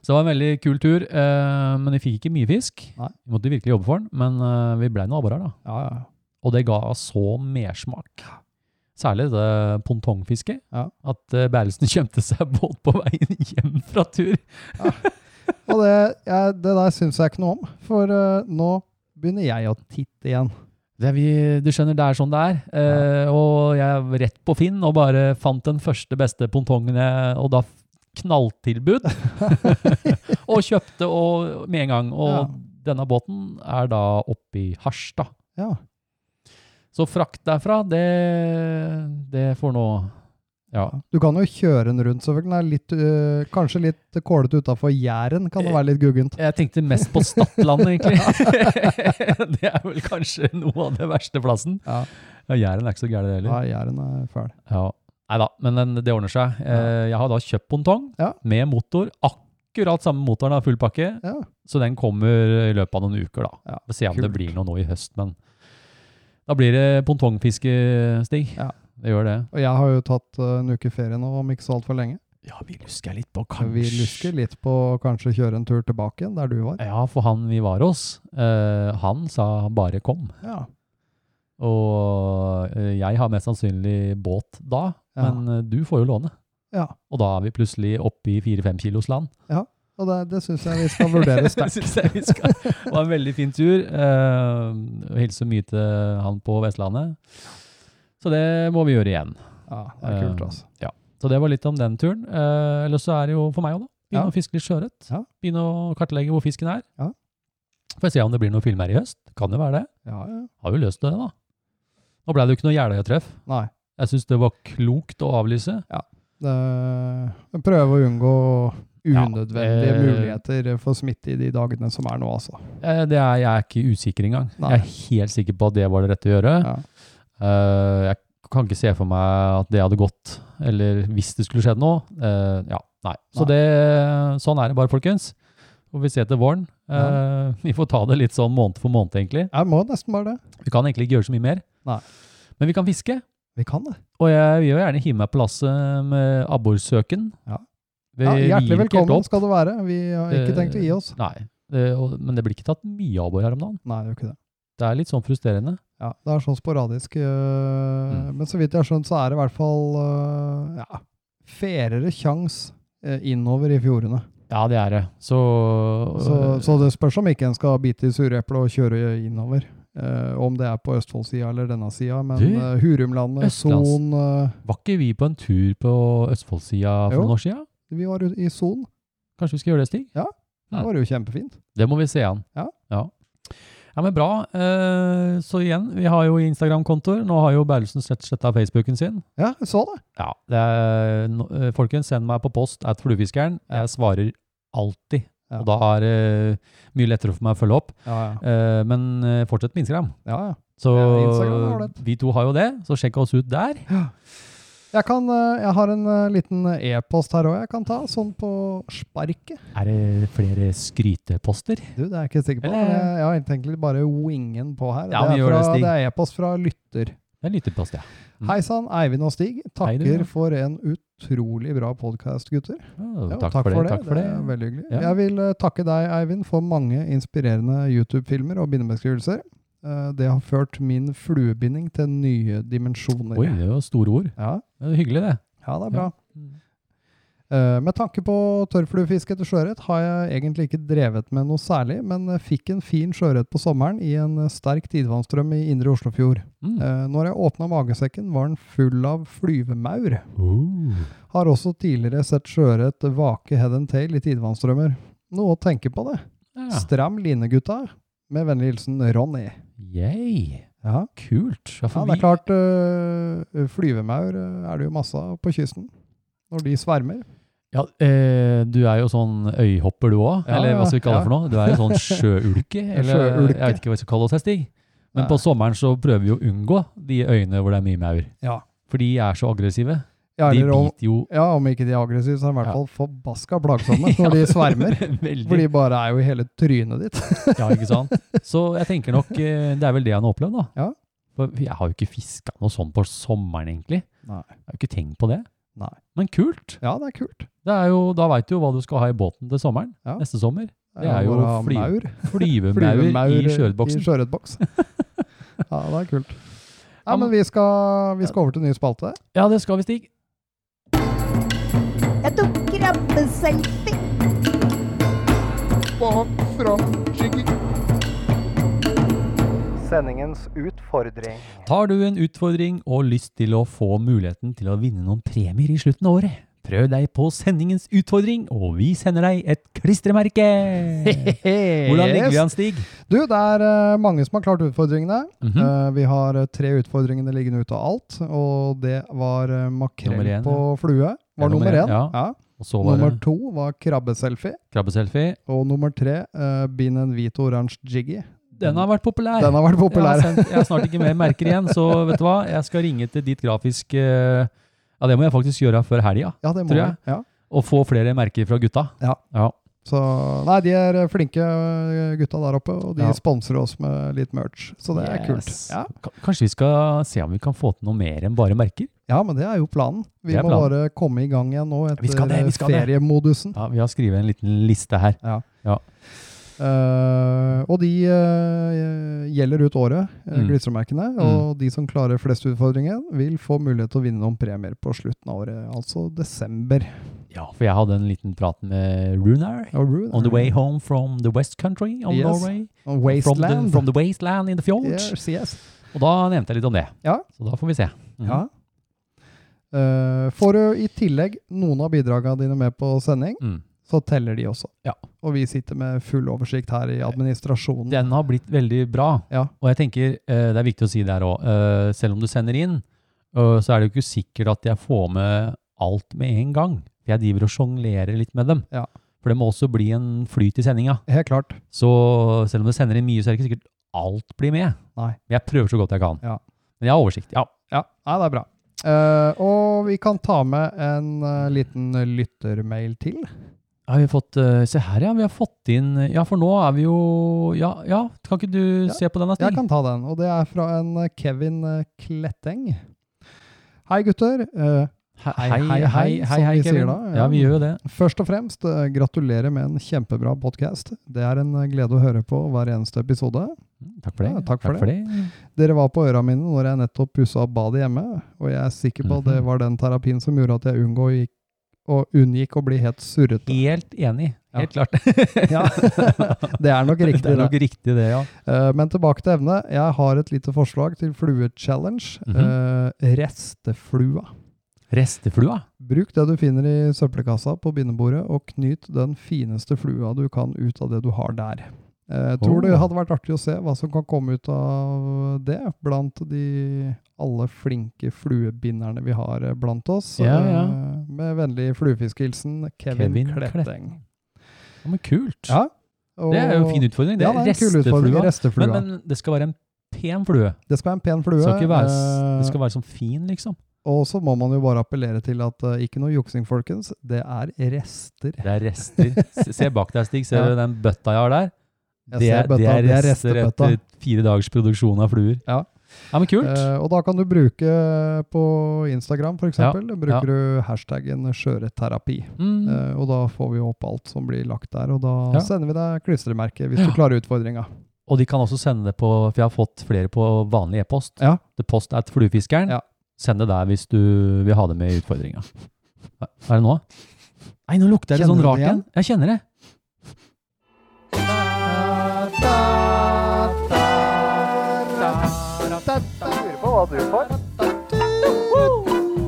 Speaker 2: Så det var en veldig kul tur, eh, men vi fikk ikke mye fisk.
Speaker 6: Nei.
Speaker 2: Vi måtte virkelig jobbe for den, men eh, vi ble noe abborer da.
Speaker 6: Ja, ja.
Speaker 2: Og det ga så mersmak. Særlig det pongtongfisket.
Speaker 6: Ja.
Speaker 2: At uh, (laughs) bærelsen kjemte seg både på veien hjem fra tur.
Speaker 6: Og det, jeg, det der syns jeg ikke noe om, for eh, nå begynner jeg å titte igjen.
Speaker 2: Det er vi, du skjønner, det er sånn det er. Eh, Og jeg er rett på Finn og bare fant den første beste pongtongen, jeg- og da f- knalltilbud. og kjøpte og, med en gang. Og denne båten er da oppe i Harstad.
Speaker 6: Ja.
Speaker 2: Så frakt derfra, det, det får nå Ja.
Speaker 6: Du kan jo kjøre den rundt, selvfølgelig. Den er litt, øh, kanskje litt kålete utafor Jæren, kan det være litt guggent.
Speaker 2: Jeg tenkte mest på Stadlandet, egentlig. (laughs) det er vel kanskje noe av det verste plassen.
Speaker 6: Ja.
Speaker 2: Ja, Jæren er ikke så gæren, det heller.
Speaker 6: Ja, Jæren er fæl.
Speaker 2: Ja. Nei da, men den, det ordner seg. Eh, Jeg har da kjøpt pontong
Speaker 6: Ja.
Speaker 2: med motor. Akkurat samme motoren av full pakke.
Speaker 6: Ja.
Speaker 2: Så den kommer i løpet av noen uker, da.
Speaker 6: Ja,
Speaker 2: Får se om det
Speaker 6: kult.
Speaker 2: blir noe nå i høst, men da blir det pontongfiske, Stig.
Speaker 6: Ja.
Speaker 2: Det gjør det.
Speaker 6: Og jeg har jo tatt øh, en uke ferie nå om ikke så altfor lenge.
Speaker 2: Ja, vi lusker litt på
Speaker 6: Vi lusker litt på å kanskje kjøre en tur tilbake igjen, der du var.
Speaker 2: Ja, for han vi var hos, eh, han sa bare kom.
Speaker 6: Ja.
Speaker 2: Og eh, jeg har mest sannsynlig båt da,
Speaker 6: Ja.
Speaker 2: men eh, du får jo låne.
Speaker 6: Ja.
Speaker 2: Og da er vi plutselig oppe i 4-5 kilos land.
Speaker 6: Og det, det syns jeg vi skal
Speaker 2: (laughs)
Speaker 6: vurdere
Speaker 2: Det
Speaker 6: sterkt. (laughs)
Speaker 2: synes jeg vi skal. Det var en veldig fin tur. eh, og hilser mye til han på Vestlandet. Så det må vi gjøre igjen.
Speaker 6: Ja, det er kult, altså.
Speaker 2: Så det var litt om den turen. Eh, ellers så er det jo for meg òg, da. Begynne
Speaker 6: Ja.
Speaker 2: å fiske litt sjøørret.
Speaker 6: Ja.
Speaker 2: Begynne å kartlegge hvor fisken er.
Speaker 6: Ja.
Speaker 2: Får se om det blir noen filmer i høst. Kan jo være det.
Speaker 6: Ja, ja.
Speaker 2: Har jo løst det, da. Nå ble det jo ikke noe Jeløya-treff.
Speaker 6: Nei.
Speaker 2: Jeg syns det var klokt å avlyse.
Speaker 6: Det, jeg prøver å unngå
Speaker 2: Ja,
Speaker 6: unødvendige
Speaker 2: eh,
Speaker 6: muligheter for smitte i de dagene som er nå, altså.
Speaker 2: Eh, Det er, jeg er ikke usikker engang.
Speaker 6: Nei.
Speaker 2: Jeg er helt sikker på at det var det rette å gjøre.
Speaker 6: Ja.
Speaker 2: Eh, jeg kan ikke se for meg at det hadde gått, eller hvis det skulle skjedd noe. Eh, ja, nei. Så
Speaker 6: Nei.
Speaker 2: det, sånn er det bare, folkens. Får vi se til våren. Eh, Vi får ta det litt sånn måned for måned, egentlig.
Speaker 6: Jeg må nesten bare det.
Speaker 2: Vi kan egentlig ikke gjøre så mye mer.
Speaker 6: Nei.
Speaker 2: Men vi kan fiske.
Speaker 6: Vi kan det.
Speaker 2: Og jeg vil jo gjerne hive meg på lasset med abborsøken.
Speaker 6: Ja.
Speaker 2: Vi
Speaker 6: Ja,
Speaker 2: gir
Speaker 6: hjertelig
Speaker 2: ikke helt
Speaker 6: velkommen
Speaker 2: opp.
Speaker 6: skal du være. Vi har ikke
Speaker 2: Det-
Speaker 6: tenkt å gi oss.
Speaker 2: Nei. Det, og, men det blir ikke tatt mye abbor her om dagen.
Speaker 6: Nei, det er jo ikke det.
Speaker 2: Det er litt sånn frustrerende.
Speaker 6: Ja, det er sånn sporadisk.
Speaker 2: Mm.
Speaker 6: øh, Men så vidt jeg har skjønt, så er det i hvert fall øh, ja, ferere kjangs øh, innover i fjordene.
Speaker 2: Ja, det er det. Så,
Speaker 6: Så,
Speaker 2: Øh.
Speaker 6: så det spørs om ikke en skal bite i sureplet og kjøre innover. Eh, om det er på Østfoldsida eller denne sida, men
Speaker 2: Du,
Speaker 6: øh, Hurumlandet,
Speaker 2: Østlands.
Speaker 6: Son øh,
Speaker 2: var ikke vi på en tur på Østfoldsida for
Speaker 6: Jo.
Speaker 2: noen år siden?
Speaker 6: Vi var ut- i Son.
Speaker 2: Kanskje vi skal gjøre det, Stig?
Speaker 6: Det var jo kjempefint.
Speaker 2: Det må vi se an.
Speaker 6: Ja.
Speaker 2: ja. Ja, men bra. Eh, Så igjen, vi har jo Instagram-kontoer. Nå har jo Berlesen sletta Facebooken sin.
Speaker 6: Ja, jeg så det.
Speaker 2: Ja, det er, no- eh, Folkens, send meg på post at fluefiskeren. Jeg svarer alltid.
Speaker 6: Ja.
Speaker 2: Og da er det mye lettere for meg å følge opp.
Speaker 6: Ja, ja.
Speaker 2: Eh, Men eh, fortsett med Instagram.
Speaker 6: ja, ja.
Speaker 2: Så
Speaker 6: Ja, Instagram er ålreit.
Speaker 2: vi to har jo det, så sjekk oss ut der.
Speaker 6: Jeg, kan, øh, jeg har en øh, liten e-post her òg jeg kan ta, sånn på sparket.
Speaker 2: Er det flere skryteposter?
Speaker 6: Du, det er jeg ikke sikker på.
Speaker 2: Eller-
Speaker 6: men Jeg, jeg har egentlig bare wingen på her.
Speaker 2: Ja, vi
Speaker 6: det, er
Speaker 2: gjør det,
Speaker 6: fra,
Speaker 2: Stig.
Speaker 6: det er e-post fra lytter.
Speaker 2: Det er en liten post, ja. Mm.
Speaker 6: Hei sann, Eivind og Stig.
Speaker 2: Hei,
Speaker 6: Takker
Speaker 2: du, ja.
Speaker 6: for en utrolig bra podkast, gutter.
Speaker 2: Å,
Speaker 6: Jo,
Speaker 2: takk, for det. Takk for det.
Speaker 6: er veldig hyggelig.
Speaker 2: Ja.
Speaker 6: Jeg vil eh, takke deg, Eivind, for mange inspirerende YouTube-filmer og bindebeskrivelser. Eh, det har ført min fluebinding til nye dimensjoner.
Speaker 2: Oi, det var store ord.
Speaker 6: Ja.
Speaker 2: Det er hyggelig, det.
Speaker 6: ja, det er bra.
Speaker 2: Mm.
Speaker 6: Eh, med tanke på tørrfluefiske etter sjøørret har jeg egentlig ikke drevet med noe særlig, men eh, fikk en fin sjøørret på sommeren i en eh, sterk tidevannsstrøm i indre Oslofjord.
Speaker 2: Mm.
Speaker 6: Eh, når jeg åpna magesekken, var den full av flyvemaur.
Speaker 2: Oh.
Speaker 6: Har også tidligere sett sjøørret vake head and tail i tidevannsstrømmer. Noe å tenke på, det.
Speaker 2: Ja.
Speaker 6: Stram line, gutta. Med vennlig hilsen Ronny.
Speaker 2: Yay.
Speaker 6: Ja,
Speaker 2: Kult. Ja, for
Speaker 6: det er
Speaker 2: vi-
Speaker 6: klart. øh, flyvemaur øh, er det jo masse av på kysten. Når de svermer.
Speaker 2: Ja, eh, du er jo sånn øyhopper, du òg.
Speaker 6: Ja,
Speaker 2: eller hva skal vi kalle det
Speaker 6: ja.
Speaker 2: for noe? Du er
Speaker 6: (laughs)
Speaker 2: jo sånn sjøulke. eller
Speaker 6: Sjøulke.
Speaker 2: Jeg vet ikke hva vi skal kalle oss, jeg, Stig. Men
Speaker 6: Nei.
Speaker 2: på sommeren så prøver vi å unngå de øyene hvor det er mye maur.
Speaker 6: Ja.
Speaker 2: For de er så aggressive.
Speaker 6: Ja,
Speaker 2: De
Speaker 6: eller om,
Speaker 2: biter jo
Speaker 6: ja, om ikke de er aggressive, så er de i
Speaker 2: Ja.
Speaker 6: hvert fall forbaska
Speaker 2: (laughs)
Speaker 6: plagsomme når de svermer.
Speaker 2: Veldig.
Speaker 6: For de bare er jo i hele trynet ditt.
Speaker 2: (laughs) Ja, ikke sant? Så jeg tenker nok eh, det er vel det han har opplevd, da.
Speaker 6: Ja.
Speaker 2: For jeg har jo ikke fiska noe sånn på sommeren, egentlig.
Speaker 6: Nei.
Speaker 2: Jeg har jo ikke tenkt på det.
Speaker 6: Nei.
Speaker 2: Men kult.
Speaker 6: Ja, det er kult.
Speaker 2: Det er jo, da veit du jo hva du skal ha i båten til sommeren.
Speaker 6: Ja.
Speaker 2: Neste
Speaker 6: (laughs)
Speaker 2: sommer. Det er
Speaker 6: er
Speaker 2: jo
Speaker 6: bare
Speaker 2: fly-
Speaker 6: maur.
Speaker 2: Flyvemaur i
Speaker 6: I
Speaker 2: sjøørretboksen.
Speaker 6: sjøørretboks.
Speaker 2: (laughs)
Speaker 6: ja, det er kult.
Speaker 2: Ja,
Speaker 6: Ja, men vi skal, vi skal over til ny spalte.
Speaker 2: Ja, det skal vi, Stig.
Speaker 7: Jeg tok krabbeselfie.
Speaker 5: Sendingens utfordring.
Speaker 2: Tar du en utfordring og lyst til å få muligheten til å vinne noen premier i slutten av året? Prøv deg på sendingens utfordring, og vi sender deg et klistremerke! (laughs)
Speaker 6: (laughs)
Speaker 2: Hvordan ligger vi an, Stig?
Speaker 6: Du, det er eh, mange som har klart utfordringene.
Speaker 2: Mhm.
Speaker 6: Eh, vi har eh, tre utfordringene liggende ute av alt, og det var eh, makrell
Speaker 2: Nummer én,
Speaker 6: på flue.
Speaker 2: Ja,
Speaker 6: Var nummer
Speaker 2: nummer én,
Speaker 6: én.
Speaker 2: ja. Og så var
Speaker 6: Nummer
Speaker 2: det
Speaker 6: to var krabbeselfie.
Speaker 2: krabbeselfie.
Speaker 6: Og nummer tre, eh, bind en hvit og oransje jiggy.
Speaker 2: Den har vært populær.
Speaker 6: Den har vært populær.
Speaker 2: Jeg, har sendt, jeg har snart ikke mer merker igjen, så vet du hva? Jeg skal ringe til ditt grafiske Ja, det må jeg faktisk gjøre før helga.
Speaker 6: Ja, det må
Speaker 2: Tror
Speaker 6: vi.
Speaker 2: jeg.
Speaker 6: Ja.
Speaker 2: Og få flere merker fra gutta.
Speaker 6: Ja.
Speaker 2: ja.
Speaker 6: Så, nei, de er flinke eh, gutta der oppe, og de
Speaker 2: Ja.
Speaker 6: sponser oss med litt merch. Så det er kult.
Speaker 2: Yes.
Speaker 6: Ja.
Speaker 2: Ka- Kanskje vi skal se om vi kan få til noe mer enn bare merker?
Speaker 6: ja, men det er jo planen. Vi
Speaker 2: Det er
Speaker 6: må
Speaker 2: planen.
Speaker 6: bare komme i gang igjen nå etter eh,
Speaker 2: Vi skal det, vi skal det.
Speaker 6: feriemodusen.
Speaker 2: Ja, Vi har skrevet en liten liste her.
Speaker 6: Eh, og de eh, gjelder ut året, eh,
Speaker 2: Mm.
Speaker 6: glitremerkene. Og de som klarer flest utfordringer, vil få mulighet til å vinne noen premier på slutten av året, altså desember.
Speaker 2: Ja, For jeg hadde en liten prat med Runar.
Speaker 6: Og Rune-
Speaker 2: On the way home from the west country of
Speaker 6: Yes.
Speaker 2: Norway. From
Speaker 6: On
Speaker 2: the,
Speaker 6: Wasteland.
Speaker 2: from the wasteland in the fjords.
Speaker 6: yes, yes.
Speaker 2: Og da nevnte jeg litt om det.
Speaker 6: Ja.
Speaker 2: Så da får vi se. Mhm.
Speaker 6: Ja. Eh, får du i tillegg noen av bidragene dine med på sending,
Speaker 2: Mm.
Speaker 6: så teller de også.
Speaker 2: Ja.
Speaker 6: Og vi sitter med full oversikt her i administrasjonen.
Speaker 2: Den har blitt veldig bra.
Speaker 6: Ja.
Speaker 2: Og jeg tenker, eh, det er viktig å si der òg, selv om du sender inn, eh, så er det jo ikke sikkert at jeg får med alt med en gang. Jeg driver og sjonglerer litt med dem.
Speaker 6: Ja.
Speaker 2: For det må også bli en flyt i sendinga.
Speaker 6: Helt klart.
Speaker 2: Så selv om du sender inn mye, så er det ikke sikkert alt blir med.
Speaker 6: Nei.
Speaker 2: Men jeg prøver så godt jeg kan.
Speaker 6: Ja.
Speaker 2: Men jeg har oversikt. Ja.
Speaker 6: Ja, nei, det er bra. Eh, og vi kan ta med en eh, liten lyttermail til.
Speaker 2: Har vi fått, eh, se her, ja. Vi har fått inn Ja, for nå er vi jo Ja, ja. kan ikke du
Speaker 6: Ja,
Speaker 2: se på den, da,
Speaker 6: Jeg
Speaker 2: Stig?
Speaker 6: kan ta den, og det er fra en eh, Kevin eh, Kletteng. Hei, gutter. Eh,
Speaker 2: Hei, hei, hei, hei, hei,
Speaker 6: som vi sier
Speaker 2: Kevin.
Speaker 6: da, ja.
Speaker 2: ja, vi gjør jo det.
Speaker 6: Først og fremst, eh, gratulerer med en kjempebra podkast. Det er en eh, glede å høre på hver eneste episode.
Speaker 2: Takk for det.
Speaker 6: Ja, takk for
Speaker 2: det.
Speaker 6: Dere var på øra mine når jeg nettopp pussa opp badet hjemme, og jeg er sikker på at det
Speaker 2: Mhm.
Speaker 6: var den terapien som gjorde at jeg unngå gikk, og unngikk å bli helt surrete.
Speaker 2: Helt enig.
Speaker 6: Ja.
Speaker 2: Helt klart.
Speaker 6: (laughs)
Speaker 2: (laughs)
Speaker 6: Ja, det er nok riktig.
Speaker 2: det er
Speaker 6: det.
Speaker 2: nok riktig, det, ja.
Speaker 6: Eh, men tilbake til evne. Jeg har et lite forslag til flue-challenge.
Speaker 2: Mhm.
Speaker 6: Eh, resteflua.
Speaker 2: Resteflua.
Speaker 6: Bruk det du finner i søppelkassa på bindebordet, og knyt den fineste flua du kan ut av det du har der. Eh, Jeg tror
Speaker 2: Oh.
Speaker 6: det hadde vært artig å se hva som kan komme ut av det, blant de alle flinke fluebinderne vi har eh, blant oss.
Speaker 2: Ja, ja.
Speaker 6: Eh, Med vennlig fluefiskehilsen Kevin,
Speaker 2: Kevin
Speaker 6: Kletteng.
Speaker 2: Ja, men kult.
Speaker 6: Ja, og-
Speaker 2: Det er jo en fin utfordring. Det
Speaker 6: Ja,
Speaker 2: er,
Speaker 6: det er en kul utfordring.
Speaker 2: resteflua.
Speaker 6: Resteflua.
Speaker 2: Men, men det skal være en pen flue.
Speaker 6: det skal være en pen flue.
Speaker 2: Det skal ikke være, s-
Speaker 6: eh,
Speaker 2: det skal være sånn fin, liksom.
Speaker 6: Og så må man jo bare appellere til at eh, ikke noe juksing, folkens. Det er rester.
Speaker 2: Det er rester. Se- Se bak deg, Stig. Ser
Speaker 6: Ja.
Speaker 2: du den bøtta jeg har der?
Speaker 6: Jeg
Speaker 2: Det
Speaker 6: ser
Speaker 2: er,
Speaker 6: bøtta,
Speaker 2: det er
Speaker 6: det er
Speaker 2: rester
Speaker 6: restebøtta.
Speaker 2: etter fire dagers produksjon av fluer.
Speaker 6: Ja.
Speaker 2: ja men kult.
Speaker 6: Eh, og da kan du bruke på Instagram, f.eks.
Speaker 2: Ja, ja.
Speaker 6: Bruker du hashtaggen skjøreterapi.
Speaker 2: Mm.
Speaker 6: Eh, og da får vi opp alt som blir lagt der, og da
Speaker 2: Ja.
Speaker 6: sender vi deg klistremerke hvis
Speaker 2: Ja.
Speaker 6: du klarer utfordringa.
Speaker 2: Og de kan også sende det på, for jeg har fått flere på vanlig e-post.
Speaker 6: Ja.
Speaker 2: Det er post at fluefiskeren.
Speaker 6: Ja.
Speaker 2: Send det der hvis du vil ha det med i utfordringa. Hva- Hva er det nå? Nei, nå lukter det
Speaker 6: Kjenner
Speaker 2: sånn
Speaker 6: du det
Speaker 2: rart igjen. Jeg kjenner det.
Speaker 5: Lurer på hva du får.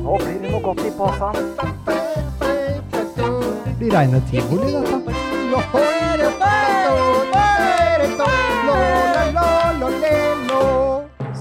Speaker 5: Nå blir det noe godt i posen.
Speaker 6: Det blir reine tivoli, dette.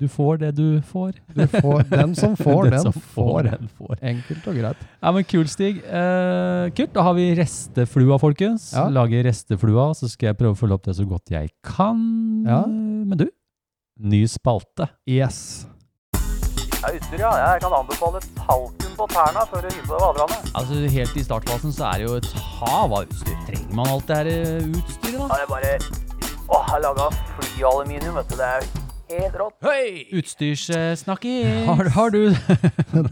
Speaker 2: Du får det du får.
Speaker 6: Du får,
Speaker 2: (laughs)
Speaker 6: den som (laughs)
Speaker 2: Den
Speaker 6: får, den,
Speaker 2: som
Speaker 6: får.
Speaker 2: den får.
Speaker 6: Enkelt og greit.
Speaker 2: Ja, men Kul, Stig. Eh, kult. Da har vi resteflua, folkens.
Speaker 6: Ja.
Speaker 2: Lager resteflua, så skal jeg prøve å følge opp det så godt jeg kan.
Speaker 6: Ja.
Speaker 2: Men du, ny spalte.
Speaker 6: Yes.
Speaker 3: Ja, utstyr, ja. Jeg kan anbefale talken på tærne før du hiver på deg vaderne.
Speaker 1: Altså, Helt i startfasen så er det jo et hav av utstyr. Trenger man alt det her eh, utstyret, da?
Speaker 3: Da er det bare Åh, jeg laga flyaluminium, vet du. Det er helt rått.
Speaker 1: Utstyrssnakkis!
Speaker 2: Har, har, du, (laughs)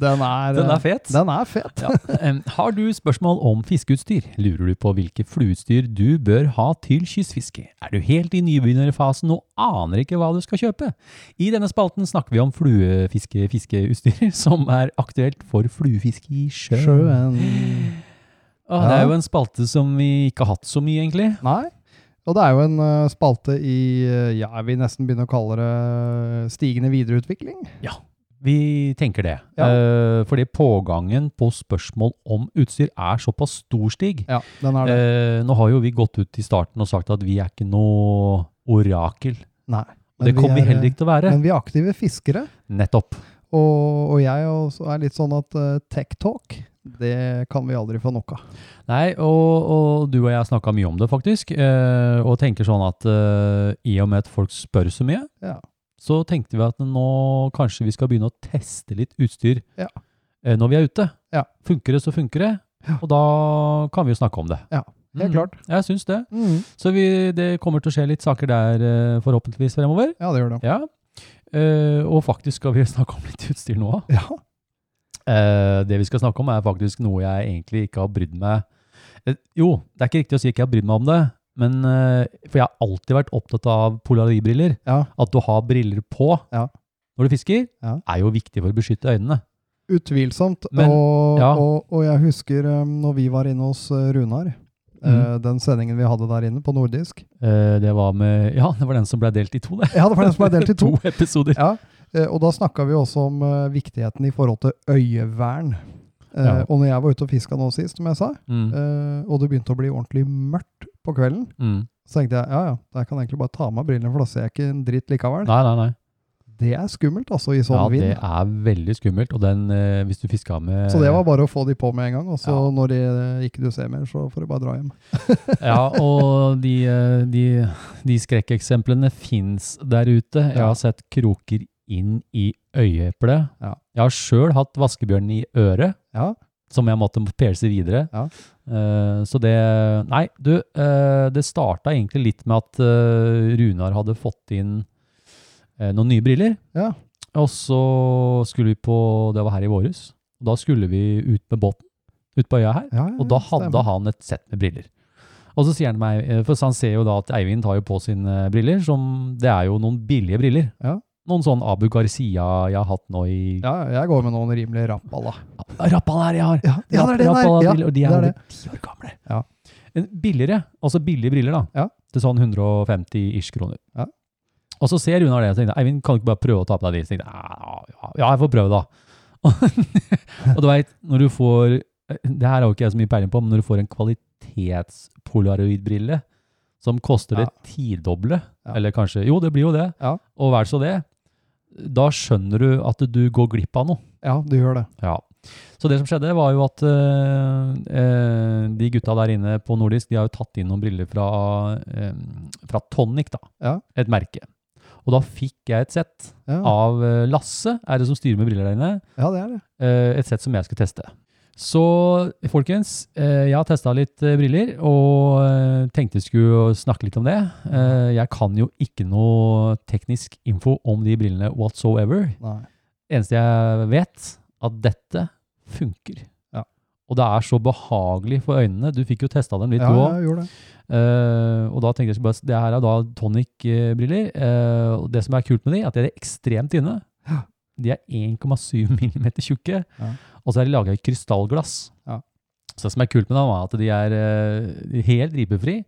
Speaker 6: Den er,
Speaker 2: Den er fet.
Speaker 6: Den er fet.
Speaker 2: Em, har du spørsmål om fiskeutstyr? Lurer du på hvilke flueutstyr du bør ha til kystfiske? Er du helt i nybegynnerfasen og aner ikke hva du skal kjøpe? I denne spalten snakker vi om fluefiskefiskeutstyr (laughs) som er aktuelt for fluefiske i sjøen.
Speaker 6: Sjøen.
Speaker 2: Åh, Det er
Speaker 6: Ja.
Speaker 2: jo en spalte som vi ikke har hatt så mye, egentlig.
Speaker 6: Nei. Og det er jo en eh, spalte i eh, ja, jeg vil nesten begynne å kalle det eh, stigende videreutvikling.
Speaker 2: Vi tenker det.
Speaker 6: Ja.
Speaker 2: Eh, fordi pågangen på spørsmål om utstyr er såpass stor, Stig.
Speaker 6: Ja, den er det.
Speaker 2: Eh, nå har jo vi gått ut i starten og sagt at vi er ikke noe orakel.
Speaker 6: Nei.
Speaker 2: Og det kommer vi
Speaker 6: er,
Speaker 2: heller ikke til å være.
Speaker 6: Men vi er aktive fiskere,
Speaker 2: Nettopp.
Speaker 6: og, og jeg også er litt sånn at eh, tech talk, det kan vi aldri få nok av.
Speaker 2: Nei, og, og du og jeg har snakka mye om det, faktisk. eh, og tenker sånn at eh, i og med at folk spør så mye,
Speaker 6: Ja.
Speaker 2: så tenkte vi at nå kanskje vi skal begynne å teste litt utstyr
Speaker 6: Ja.
Speaker 2: eh, når vi er ute.
Speaker 6: Ja.
Speaker 2: Funker det, så funker det.
Speaker 6: Ja.
Speaker 2: Og da kan vi jo snakke om det.
Speaker 6: Ja, helt
Speaker 2: Mm,
Speaker 6: klart.
Speaker 2: Jeg syns det.
Speaker 6: Mm.
Speaker 2: Så vi, det kommer til å skje litt saker der eh, forhåpentligvis fremover.
Speaker 6: Ja, det gjør det.
Speaker 2: Ja. Eh, og faktisk skal vi snakke om litt utstyr nå.
Speaker 6: Ja.
Speaker 2: Eh, det vi skal snakke om er faktisk noe jeg egentlig ikke har brydd meg eh, Jo, det er ikke riktig å si ikke jeg har brydd meg om det, men eh, For jeg har alltid vært opptatt av polaribriller.
Speaker 6: Ja.
Speaker 2: At du har briller på
Speaker 6: Ja.
Speaker 2: når du fisker,
Speaker 6: Ja.
Speaker 2: er jo viktig for å beskytte øynene.
Speaker 6: Utvilsomt.
Speaker 2: Men-
Speaker 6: og,
Speaker 2: ja.
Speaker 6: og, og jeg husker um, når vi var inne hos eh, Runar, eh,
Speaker 2: Mm.
Speaker 6: den sendingen vi hadde der inne på nordisk.
Speaker 2: Eh, det var med Ja, det var den som ble delt i to, det.
Speaker 6: Ja, det var den som ble delt i
Speaker 2: (laughs)
Speaker 6: to.
Speaker 2: to episoder.
Speaker 6: (laughs) Ja, eh, og da snakka vi også om eh, viktigheten i forhold til øyevern. Eh,
Speaker 2: Ja.
Speaker 6: Og når jeg var ute og fiska nå sist, som jeg sa,
Speaker 2: Mm.
Speaker 6: eh, og det begynte å bli ordentlig mørkt på kvelden,
Speaker 2: Mm.
Speaker 6: så tenkte jeg ja ja, jeg kan egentlig bare ta av meg brillene, for da ser jeg ikke en dritt likevel.
Speaker 2: Nei, nei, nei.
Speaker 6: Det er skummelt, altså, i sånn
Speaker 2: ja,
Speaker 6: vind.
Speaker 2: det er veldig skummelt. Og den, eh, hvis du fiska med
Speaker 6: Så det var bare å få de på med en gang, og så
Speaker 2: Ja.
Speaker 6: når de eh, ikke du ser mer, så får du bare dra hjem.
Speaker 2: Ja, og de, eh, de, de skrekkeksemplene fins der ute. Jeg
Speaker 6: Ja.
Speaker 2: har sett kroker inn i øyeeplet.
Speaker 6: Ja.
Speaker 2: Jeg har sjøl hatt vaskebjørn i øret,
Speaker 6: Ja.
Speaker 2: som jeg måtte perse videre.
Speaker 6: Ja.
Speaker 2: Eh, så det Nei, du, eh, det starta egentlig litt med at eh, Runar hadde fått inn eh, noen nye briller.
Speaker 6: Ja.
Speaker 2: Og så skulle vi på Det var her i våres. Da skulle vi ut med båten ut på øya her.
Speaker 6: Ja, ja,
Speaker 2: Og da
Speaker 6: stemmer.
Speaker 2: hadde han et sett med briller. Og så sier han til meg, eh, for han ser jo da at Eivind tar jo på sine briller, som det er jo noen billige briller.
Speaker 6: Ja.
Speaker 2: Noen sånn Abu Garcia jeg har hatt nå i
Speaker 6: Ja, jeg går med noen rimelig rappalla.
Speaker 2: Rappal her jeg har!
Speaker 6: Ja, ja, det er den her! Ja,
Speaker 2: Rappal-briller, og de er
Speaker 6: det er
Speaker 2: over
Speaker 6: det.
Speaker 2: ti år gamle.
Speaker 6: Ja.
Speaker 2: En Billigere, altså billige briller da,
Speaker 6: Ja.
Speaker 2: til sånn 150 ish kroner.
Speaker 6: Ja.
Speaker 2: Og så ser Runar det og tenker, Eivind, kan du ikke bare prøve å ta på deg de? Så tenkte jeg, ja, ja, jeg får prøve da. (laughs) og du vet, når du får, det her har jo ikke jeg så mye peiling på, men når du får en kvalitetspolaroidbrille, som koster det tidoble,
Speaker 6: Ja.
Speaker 2: eller kanskje, jo det blir jo det,
Speaker 6: Ja.
Speaker 2: og vær så det, da skjønner du at du går glipp av noe.
Speaker 6: Ja, du gjør det.
Speaker 2: Ja. Så det som skjedde var jo at eh, eh, de gutta der inne på Nordisk, de har jo tatt inn noen briller fra, eh, fra Tonic da.
Speaker 6: Ja.
Speaker 2: Et merke. Og da fikk jeg et sett
Speaker 6: Ja,
Speaker 2: av eh, Lasse, er det som styrer med briller der inne,
Speaker 6: ja det er det.
Speaker 2: eh, et sett som jeg skulle teste. Så folkens, eh, jeg har testa litt eh, briller og eh, tenkte jeg skulle snakke litt om det. Eh, Jeg kan jo ikke noe teknisk info om de brillene whatsoever
Speaker 6: Nei.
Speaker 2: eneste jeg vet, at dette funker.
Speaker 6: Ja.
Speaker 2: Og det er så behagelig for øynene. Du fikk jo testa dem litt,
Speaker 6: Ja,
Speaker 2: du
Speaker 6: ja,
Speaker 2: òg.
Speaker 6: jeg gjorde det.
Speaker 2: og da tenkte jeg bare, Det her er da tonic-briller. Eh, og det som er kult med de, er at de er ekstremt tynne.
Speaker 6: Ja.
Speaker 2: De er (laughs) 1,7 mm tjukke.
Speaker 6: Ja.
Speaker 2: Og så er de laga i krystallglass.
Speaker 6: Ja.
Speaker 2: Så det som er kult med dem, er at de er eh, helt ripefri.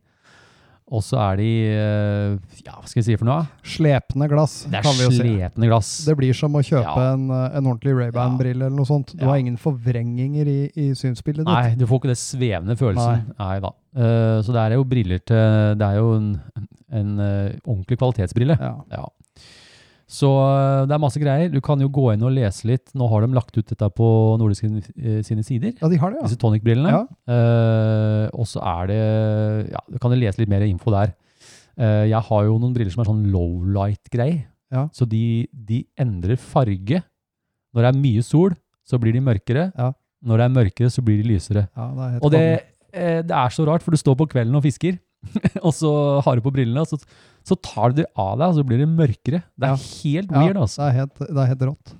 Speaker 2: Og så er de eh, Ja, hva skal jeg si for noe?
Speaker 6: Slepende glass,
Speaker 2: Det
Speaker 6: kan vi
Speaker 2: er
Speaker 6: jo si.
Speaker 2: slepende glass.
Speaker 6: Det blir som å kjøpe
Speaker 2: Ja.
Speaker 6: en, eh, en ordentlig Ray-Ban-brille eller noe sånt. Du
Speaker 2: Ja.
Speaker 6: har ingen forvrenginger i, i synsbildet ditt.
Speaker 2: Nei, du får ikke det svevende følelsen. Nei, da. Eh, så det er jo briller til Det er jo en, en eh, ordentlig kvalitetsbrille.
Speaker 6: Ja.
Speaker 2: Ja. Så eh, det er masse greier. Du kan jo gå inn og lese litt. Nå har de lagt ut dette på Nordisk sin- eh, sine sider.
Speaker 6: Ja, de har det, ja.
Speaker 2: Disse tonic-brillene.
Speaker 6: Ja.
Speaker 2: Eh, og så er det Ja, du kan jo lese litt mer info der. Eh, jeg har jo noen briller som er sånn lowlight-greier.
Speaker 6: Ja.
Speaker 2: Så de, de endrer farge. Når det er mye sol, så blir de mørkere.
Speaker 6: Ja.
Speaker 2: Når det er mørkere, så blir de lysere.
Speaker 6: ja det er helt
Speaker 2: Og det,
Speaker 6: konge.
Speaker 2: eh, det er så rart, for du står på kvelden og fisker, (laughs) og så har du på brillene, og så, så tar du det av deg, og så blir det mørkere. Det er
Speaker 6: Ja.
Speaker 2: helt
Speaker 6: ja,
Speaker 2: weird, altså.
Speaker 6: det er helt, det er helt rått.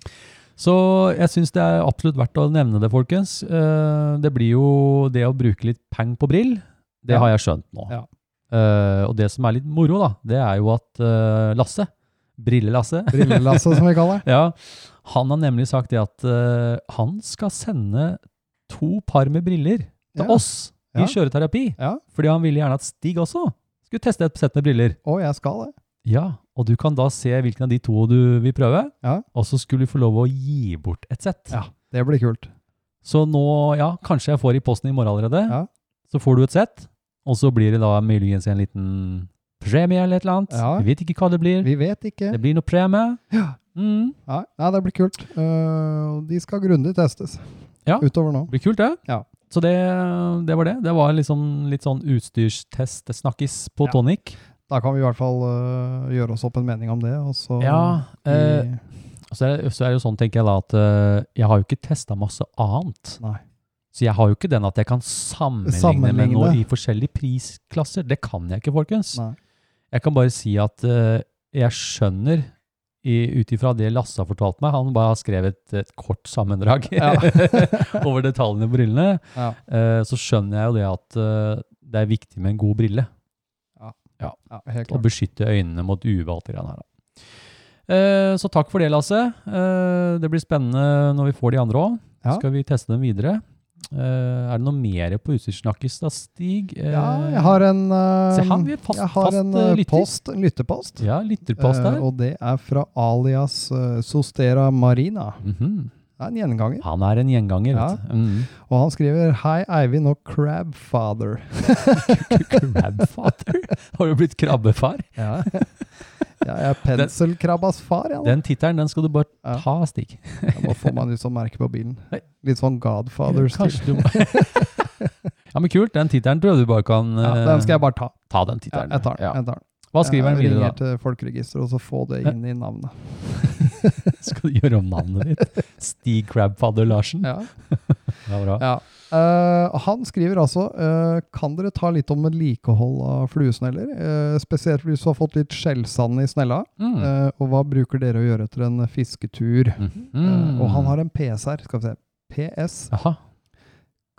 Speaker 2: Så jeg syns det er absolutt verdt å nevne det, folkens. Eh, det blir jo det å bruke litt peng på brill, det
Speaker 6: Ja.
Speaker 2: har jeg skjønt nå.
Speaker 6: Ja.
Speaker 2: Eh, og det som er litt moro, da, det er jo at eh, Lasse, Brille-Lasse,
Speaker 6: Brillelasse, som vi kaller det.
Speaker 2: ja, han har nemlig sagt det at eh, han skal sende to par med briller til
Speaker 6: Ja.
Speaker 2: oss i
Speaker 6: Ja.
Speaker 2: kjøreterapi.
Speaker 6: Ja.
Speaker 2: Fordi han ville gjerne at Stig også skulle teste et sett med briller.
Speaker 6: Å, jeg skal det.
Speaker 2: Ja, og du kan da se hvilken av de to du vil prøve,
Speaker 6: Ja.
Speaker 2: og så skulle du få lov å gi bort et sett.
Speaker 6: Ja. Det blir kult.
Speaker 2: Så nå, ja, kanskje jeg får i posten i morgen allerede.
Speaker 6: Ja.
Speaker 2: Så får du et sett, og så blir det da muligens en liten premie eller et eller annet.
Speaker 6: Ja.
Speaker 2: Jeg vet ikke hva det blir.
Speaker 6: Vi vet ikke.
Speaker 2: Det blir noe premie.
Speaker 6: Ja.
Speaker 2: Mm.
Speaker 6: Nei, nei det blir kult. Eh, og de skal grundig testes
Speaker 2: Ja.
Speaker 6: utover nå.
Speaker 2: Det blir kult, det.
Speaker 6: Ja.
Speaker 2: Så det, det var det. Det var liksom litt sånn utstyrstest-snakkis på
Speaker 6: Ja.
Speaker 2: tonic.
Speaker 6: Da kan vi i hvert fall eh, gjøre oss opp en mening om det. Og så
Speaker 2: Ja, eh,
Speaker 6: vi-
Speaker 2: Og Så er, det- så er det jo sånn, tenker jeg da, at eh, jeg har jo ikke testa masse annet.
Speaker 6: Nei.
Speaker 2: (laughs) Så jeg har jo ikke den at jeg kan sammenligne, med
Speaker 6: Sammenligne.
Speaker 2: noe i forskjellige prisklasser. Det kan jeg ikke, folkens.
Speaker 6: Nei.
Speaker 2: Jeg kan bare si at eh, jeg skjønner ut ifra det Lasse har fortalt meg, han bare har skrevet et kort sammendrag
Speaker 6: Ja. (laughs)
Speaker 2: (laughs) over detaljene på brillene,
Speaker 6: Ja.
Speaker 2: eh, så skjønner jeg jo det at eh, det er viktig med en god brille
Speaker 6: ja, helt
Speaker 2: og
Speaker 6: klart.
Speaker 2: beskytte øynene mot UV og alt det greiene her. da. Eh, Så takk for det, Lasse. Eh, Det blir spennende når vi får de andre òg.
Speaker 6: Ja.
Speaker 2: Skal vi teste dem videre? Eh, Er det noe mer på utstyrssnakkis da, Stig? Eh,
Speaker 6: Ja, jeg har en, eh,
Speaker 2: Se, han blir fast-
Speaker 6: jeg har
Speaker 2: fast,
Speaker 6: en
Speaker 2: eh,
Speaker 6: eh,
Speaker 2: lytter.
Speaker 6: post, en lyttepost.
Speaker 2: Ja, lytterpost
Speaker 6: Eh,
Speaker 2: der.
Speaker 6: og det er fra alias eh, Sostera Marina.
Speaker 2: Mhm.
Speaker 6: Det er en gjenganger.
Speaker 2: Han er en gjenganger,
Speaker 6: Ja.
Speaker 2: vet du. Mhm.
Speaker 6: Og han skriver Hei, Eivind og Crabfather.
Speaker 2: Crabfather? (laughs) Har du blitt krabbefar? (laughs)
Speaker 6: Ja. jeg er penselkrabbas far, jeg. nå.
Speaker 2: Den tittelen den skal du bare
Speaker 6: Ja.
Speaker 2: ta, Stig.
Speaker 6: Jeg må få meg litt sånn merke på bilen.
Speaker 2: Nei.
Speaker 6: Litt sånn Godfathers-stil.
Speaker 2: Kanskje du (laughs) Ja, men kult. Den tittelen tror jeg du bare kan
Speaker 6: Ja,
Speaker 2: eh,
Speaker 6: den skal jeg bare ta.
Speaker 2: ta. den
Speaker 6: Ja,
Speaker 2: tittelen.
Speaker 6: jeg tar den.
Speaker 2: Ja.
Speaker 6: Jeg tar den.
Speaker 2: Hva skriver han
Speaker 6: Jeg
Speaker 2: videre,
Speaker 6: ringer
Speaker 2: da?
Speaker 6: til Folkeregisteret og så få det inn i navnet.
Speaker 2: Skal du gjøre om navnet ditt? (laughs) Stig Crabfather Larsen?
Speaker 6: Ja.
Speaker 2: Det er bra.
Speaker 6: Ja. Eh, han skriver altså eh, Kan dere ta litt om vedlikehold av fluesneller? Eh, spesielt hvis du har fått litt skjellsand i snella.
Speaker 2: Mm.
Speaker 6: Eh, og hva bruker dere å gjøre etter en fisketur? Eh,
Speaker 2: Mhm.
Speaker 6: og han har en PS her. Skal vi se. PS.
Speaker 2: Aha,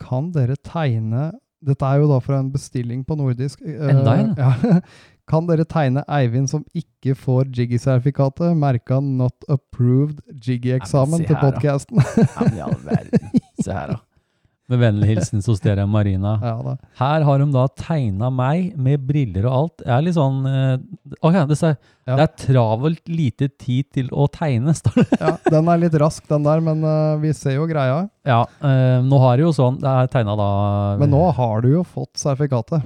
Speaker 6: Kan dere tegne Dette er jo da fra en bestilling på nordisk. eh,
Speaker 2: Enda en?
Speaker 6: (laughs) Ja. Kan dere tegne Eivind som ikke får Jiggy-sertifikatet, merka 'Not Approved
Speaker 2: Nei, men
Speaker 6: Jiggy-eksamen'
Speaker 2: se
Speaker 6: til
Speaker 2: her, da.
Speaker 6: podkasten?
Speaker 2: ja, men i all verden. Se her, da. Med vennlig hilsen Sosteria Marina.
Speaker 6: (laughs) ja da.
Speaker 2: Her har de da tegna meg med briller og alt. Jeg er litt sånn eh, Ok, det, ser,
Speaker 6: Ja.
Speaker 2: det er travelt lite tid til å tegne, (laughs) står det.
Speaker 6: Ja, den er litt rask, den der, men eh, vi ser jo greia.
Speaker 2: Ja, eh, nå har jeg jo sånn Det er tegna da
Speaker 6: Men nå har du jo fått sertifikatet.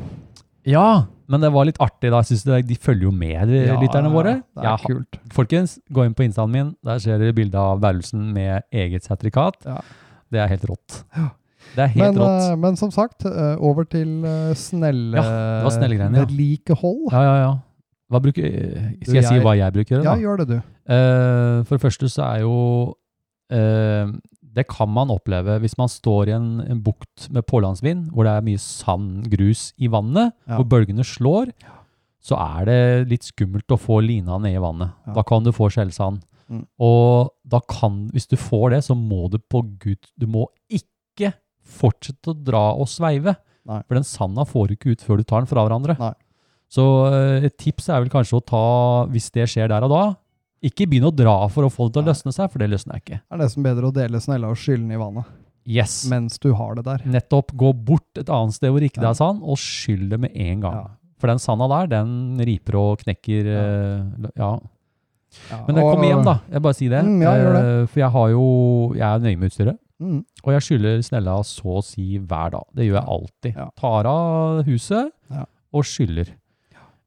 Speaker 2: Ja! Men det var litt artig, da. Jeg synes det, De følger jo med, de Eh, lytterne våre.
Speaker 6: Det er
Speaker 2: Jeg har-
Speaker 6: kult.
Speaker 2: Folkens, gå inn på instaen min. Der ser dere bilde av Værelsen med eget sertifikat.
Speaker 6: Ja.
Speaker 2: Det er helt rått. Det er helt
Speaker 6: Men,
Speaker 2: rått.
Speaker 6: eh, men som sagt, eh, over til eh, snelle...
Speaker 2: Ja, det var snellegreiene, ja.
Speaker 6: Vedlikehold.
Speaker 2: Ja, ja, ja. Hva bruker, skal
Speaker 6: Du,
Speaker 2: jeg si
Speaker 6: jeg-
Speaker 2: hva jeg bruker?
Speaker 6: Ja,
Speaker 2: Da?
Speaker 6: gjør det, du.
Speaker 2: Eh, for det første så er jo eh, Det kan man oppleve hvis man står i en, en bukt med pålandsvind, hvor det er mye sand, grus i vannet,
Speaker 6: Ja.
Speaker 2: hvor bølgene slår. Så er det litt skummelt å få lina ned i vannet.
Speaker 6: Ja.
Speaker 2: Da kan du få skjellsand.
Speaker 6: Mm.
Speaker 2: Og da kan, hvis du får det, så må du på gud Du må ikke fortsette å dra og sveive.
Speaker 6: Nei.
Speaker 2: For den sanda får du ikke ut før du tar den fra hverandre.
Speaker 6: Nei.
Speaker 2: Så eh, et tips er vel kanskje å ta, hvis det skjer der og da, ikke begynn å dra for å få det til å
Speaker 6: Nei.
Speaker 2: løsne seg, for det løsner jeg ikke.
Speaker 6: Er det som bedre å dele snella og skylle den i vannet
Speaker 2: Yes.
Speaker 6: mens du har det der?
Speaker 2: Nettopp gå bort et annet sted hvor ikke det
Speaker 6: Ja.
Speaker 2: er sand, og skyll det med en gang.
Speaker 6: Ja.
Speaker 2: For den sanda der, den riper og knekker
Speaker 6: Ja.
Speaker 2: eh, Ja.
Speaker 6: Ja,
Speaker 2: Men jeg
Speaker 6: og-
Speaker 2: kommer hjem, da. Jeg bare sier det.
Speaker 6: Mm, ja, gjør det.
Speaker 2: Eh, For jeg har jo Jeg er nøye med utstyret.
Speaker 6: Mm,
Speaker 2: Og jeg skyller snella så å si hver dag. Det gjør jeg alltid.
Speaker 6: Ja.
Speaker 2: Tar av huset
Speaker 6: Ja.
Speaker 2: og skyller.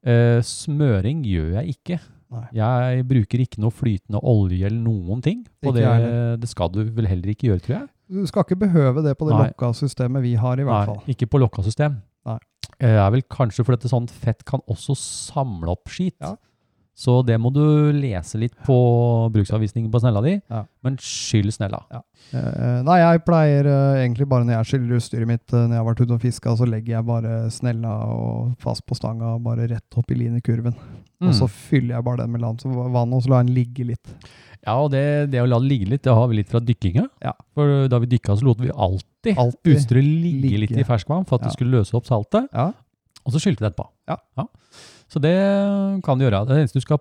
Speaker 2: Eh, smøring gjør jeg ikke.
Speaker 6: Nei.
Speaker 2: Jeg bruker ikke noe flytende olje eller noen ting. Og
Speaker 6: Ikke
Speaker 2: det,
Speaker 6: jeg heller.
Speaker 2: det skal du vel heller ikke gjøre, tror jeg.
Speaker 6: Du skal ikke behøve det på det
Speaker 2: Nei.
Speaker 6: lukka systemet vi har, i
Speaker 2: Nei,
Speaker 6: hvert fall.
Speaker 2: ikke på lokka system.
Speaker 6: Nei.
Speaker 2: Det er vel kanskje fordi at sånt fett kan også samle opp skit.
Speaker 6: Ja.
Speaker 2: Så det må du lese litt på bruksanvisningen på snella di,
Speaker 6: Ja.
Speaker 2: men skyld snella.
Speaker 6: Eh, nei, jeg pleier eh, egentlig bare når jeg skyller utstyret mitt eh, når jeg har vært ute og fiska, så legger jeg bare snella og fast på stanga og bare rett opp i linekurven.
Speaker 2: Mm.
Speaker 6: Og så fyller jeg bare den med land, så vann, og så lar jeg den ligge litt.
Speaker 2: Ja, og det, det å la det ligge litt, det har vi litt fra dykkinga.
Speaker 6: Ja.
Speaker 2: For da vi dykka, så lot vi alltid,
Speaker 6: Alltid
Speaker 2: utstyret ligge,
Speaker 6: ligge.
Speaker 2: litt i ferskvann for at
Speaker 6: Ja.
Speaker 2: det skulle løse opp saltet,
Speaker 6: Ja.
Speaker 2: og så skylte vi det etterpå.
Speaker 6: Ja.
Speaker 2: Så det kan du gjøre. Det eneste du skal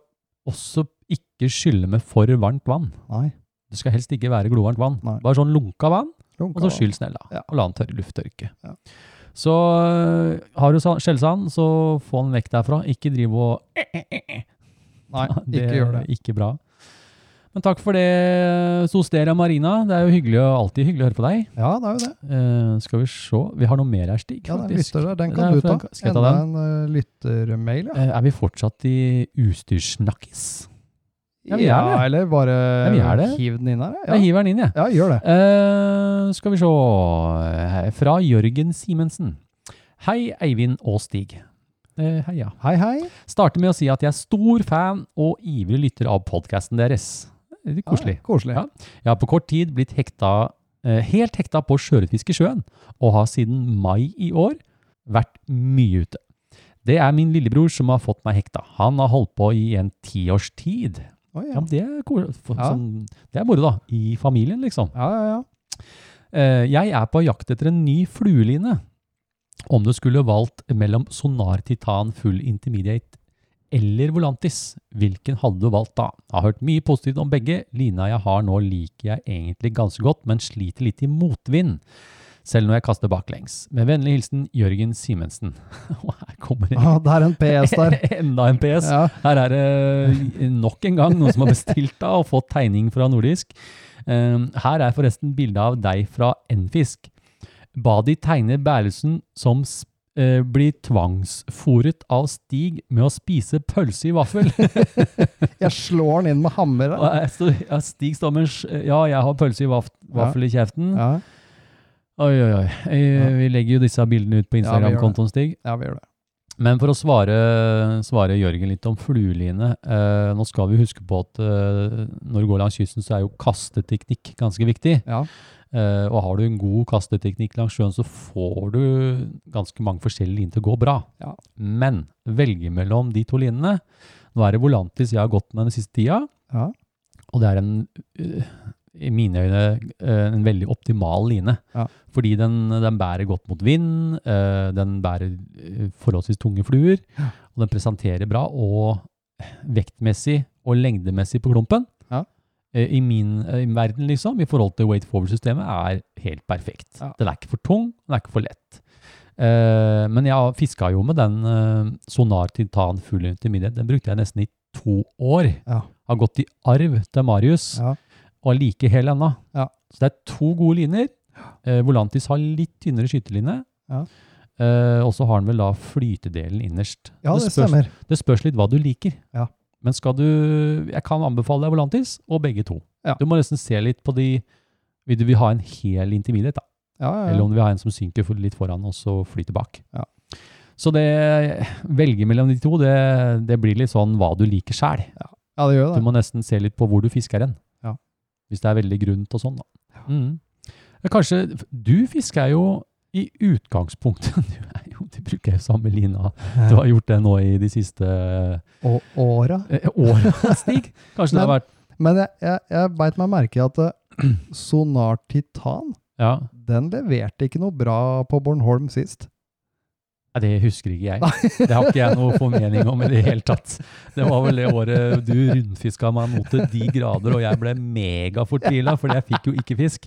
Speaker 2: også ikke skylle med for varmt vann.
Speaker 6: Nei.
Speaker 2: Det skal helst ikke være glovarmt vann.
Speaker 6: Nei.
Speaker 2: Bare sånn lunka vann,
Speaker 6: lunka
Speaker 2: og så
Speaker 6: vann.
Speaker 2: skyll snella,
Speaker 6: Ja.
Speaker 2: og la den tørre lufttørke.
Speaker 6: Ja.
Speaker 2: Så øh, har du sa- skjellsand, så få den vekk derfra. Ikke driv og (laughs)
Speaker 6: Nei, ikke gjør det.
Speaker 2: er Ikke bra. Men takk for det, Sosteria Marina. Det er jo hyggelig, å- alltid hyggelig å høre på deg.
Speaker 6: Ja, det er jo det.
Speaker 2: Eh, skal vi se Vi har noe mer her, Stig.
Speaker 6: Ja, det er en
Speaker 2: faktisk.
Speaker 6: lytter der. Den
Speaker 2: Ja,
Speaker 6: kan
Speaker 2: for
Speaker 6: du
Speaker 2: den
Speaker 6: ta.
Speaker 2: kan- skal jeg ta
Speaker 6: Enda en eh, lyttermail, ja.
Speaker 2: Eh, er vi fortsatt i utstyrssnakkis? ja, vi er det.
Speaker 6: eller bare
Speaker 2: Ja, vi er det.
Speaker 6: hiv den inn her.
Speaker 2: Jeg
Speaker 6: Ja.
Speaker 2: hiver den inn, jeg.
Speaker 6: ja, gjør det.
Speaker 2: Eh, skal vi se Her- Fra Jørgen Simensen. Hei, Eivind og Stig. Eh, hei, ja.
Speaker 6: Hei, hei.
Speaker 2: Starter med å si at jeg er stor fan og ivrig lytter av podkasten deres. Litt koselig.
Speaker 6: Ja, koselig.
Speaker 2: Ah, Ja. Jeg har på kort tid blitt hekta, eh, helt hekta på sjøørretfiske i sjøen, og har siden mai i år vært mye ute. Det er min lillebror som har fått meg hekta. Han har holdt på i en tiårs tid.
Speaker 6: Oi,
Speaker 2: Ja,
Speaker 6: ja.
Speaker 2: men det er, ko- for-
Speaker 6: Ja.
Speaker 2: sånn, det er moro, da. I familien, liksom.
Speaker 6: Ja, ja, ja.
Speaker 2: Eh, Jeg er på jakt etter en ny flueline. Om du skulle valgt mellom Sonar Titan Full Intermediate eller Volantis, hvilken hadde du valgt da? Jeg har hørt mye positivt om begge. Lina jeg har nå liker jeg egentlig ganske godt, men sliter litt i motvind. Selv når jeg kaster baklengs. Med vennlig hilsen Jørgen Simensen. (laughs) Og her kommer det
Speaker 6: Ah, det er en PS der.
Speaker 2: (laughs) enda en PS.
Speaker 6: Ja.
Speaker 2: Her er det eh, nok en gang noen som har bestilt deg og fått tegning fra Nordisk. Um, Her er forresten bildet av deg fra Enfisk. Ba de tegne Berlesen som s- eh, blir tvangsfòret av Stig med å spise pølse i vaffel.
Speaker 6: (laughs) Jeg slår den inn med hammer.
Speaker 2: Og jeg står- ja, Stig står med en sj- Ja, jeg har pølse i vaff- vaffel i kjeften.
Speaker 6: Ja,
Speaker 2: Oi, oi, oi. Eh, Vi legger jo disse bildene ut på
Speaker 6: Ja, vi gjør det.
Speaker 2: Instagram-kontoen, Stig.
Speaker 6: ja vi gjør det.
Speaker 2: Men for å svare, svare Jørgen litt om flueline. Eh, nå skal vi huske på at eh, når du går langs kysten, så er jo kasteteknikk ganske viktig.
Speaker 6: Ja.
Speaker 2: Eh, og har du en god kasteteknikk langs sjøen, så får du ganske mange forskjellige liner til å gå bra.
Speaker 6: Ja.
Speaker 2: Men velge mellom de to linene. Nå er det Volantis jeg har gått med den siste tida,
Speaker 6: Ja.
Speaker 2: og det er en, eh, i mine øyne eh, en veldig optimal line.
Speaker 6: Ja.
Speaker 2: Fordi den, den bærer godt mot vind, eh, den bærer eh, forholdsvis tunge fluer, og den presenterer bra, og vektmessig og lengdemessig på klumpen,
Speaker 6: Ja.
Speaker 2: eh, i min eh, i verden, liksom, i forhold til weight forward-systemet, er helt perfekt.
Speaker 6: Ja.
Speaker 2: Den er ikke for tung, den er ikke for lett. Eh, men jeg fiska jo med den eh, Sonar Titan Full Intermediate. Den brukte jeg nesten i to år.
Speaker 6: Ja.
Speaker 2: Har gått i arv til Marius,
Speaker 6: Ja.
Speaker 2: og er like hel ennå.
Speaker 6: Ja.
Speaker 2: Så det er to gode linjer. Eh, Volantis har litt tynnere skytelinje.
Speaker 6: Ja.
Speaker 2: Eh, og så har den vel da flytedelen innerst.
Speaker 6: Ja, det
Speaker 2: spørs-
Speaker 6: stemmer.
Speaker 2: det spørs litt hva du liker.
Speaker 6: Ja.
Speaker 2: Men skal du Jeg kan anbefale deg Volantis og begge to.
Speaker 6: Ja.
Speaker 2: Du må nesten se litt på de Vil du vil ha en hel intermediate, da?
Speaker 6: Ja, ja,
Speaker 2: Eller
Speaker 6: ja.
Speaker 2: om du vil ha en som synker for- litt foran og så flyter bak.
Speaker 6: Ja.
Speaker 2: Så det Velge mellom de to, det, det blir litt sånn hva du liker sjæl.
Speaker 6: ja det
Speaker 2: Du
Speaker 6: gjør det.
Speaker 2: må nesten se litt på hvor du fisker hen.
Speaker 6: Ja.
Speaker 2: Hvis det er veldig grunt og sånn, da. Mm. Men Kanskje Du fisker jo i utgangspunktet (laughs) Du, er jo, du bruker jo samme lina. Du har gjort det nå i de siste
Speaker 6: Og åra.
Speaker 2: Eh, Åra, Stig? Kanskje det har vært
Speaker 6: Men jeg, jeg, jeg beit meg merke i at eh, (clears throat) Sonar Titan,
Speaker 2: Ja,
Speaker 6: den leverte ikke noe bra på Bornholm sist.
Speaker 2: Nei, det husker ikke jeg. Det har ikke jeg noe formening om i det hele tatt. Det var vel det året du rundfiska meg mot til de grader, og jeg ble megafortvila, fordi jeg fikk jo ikke fisk.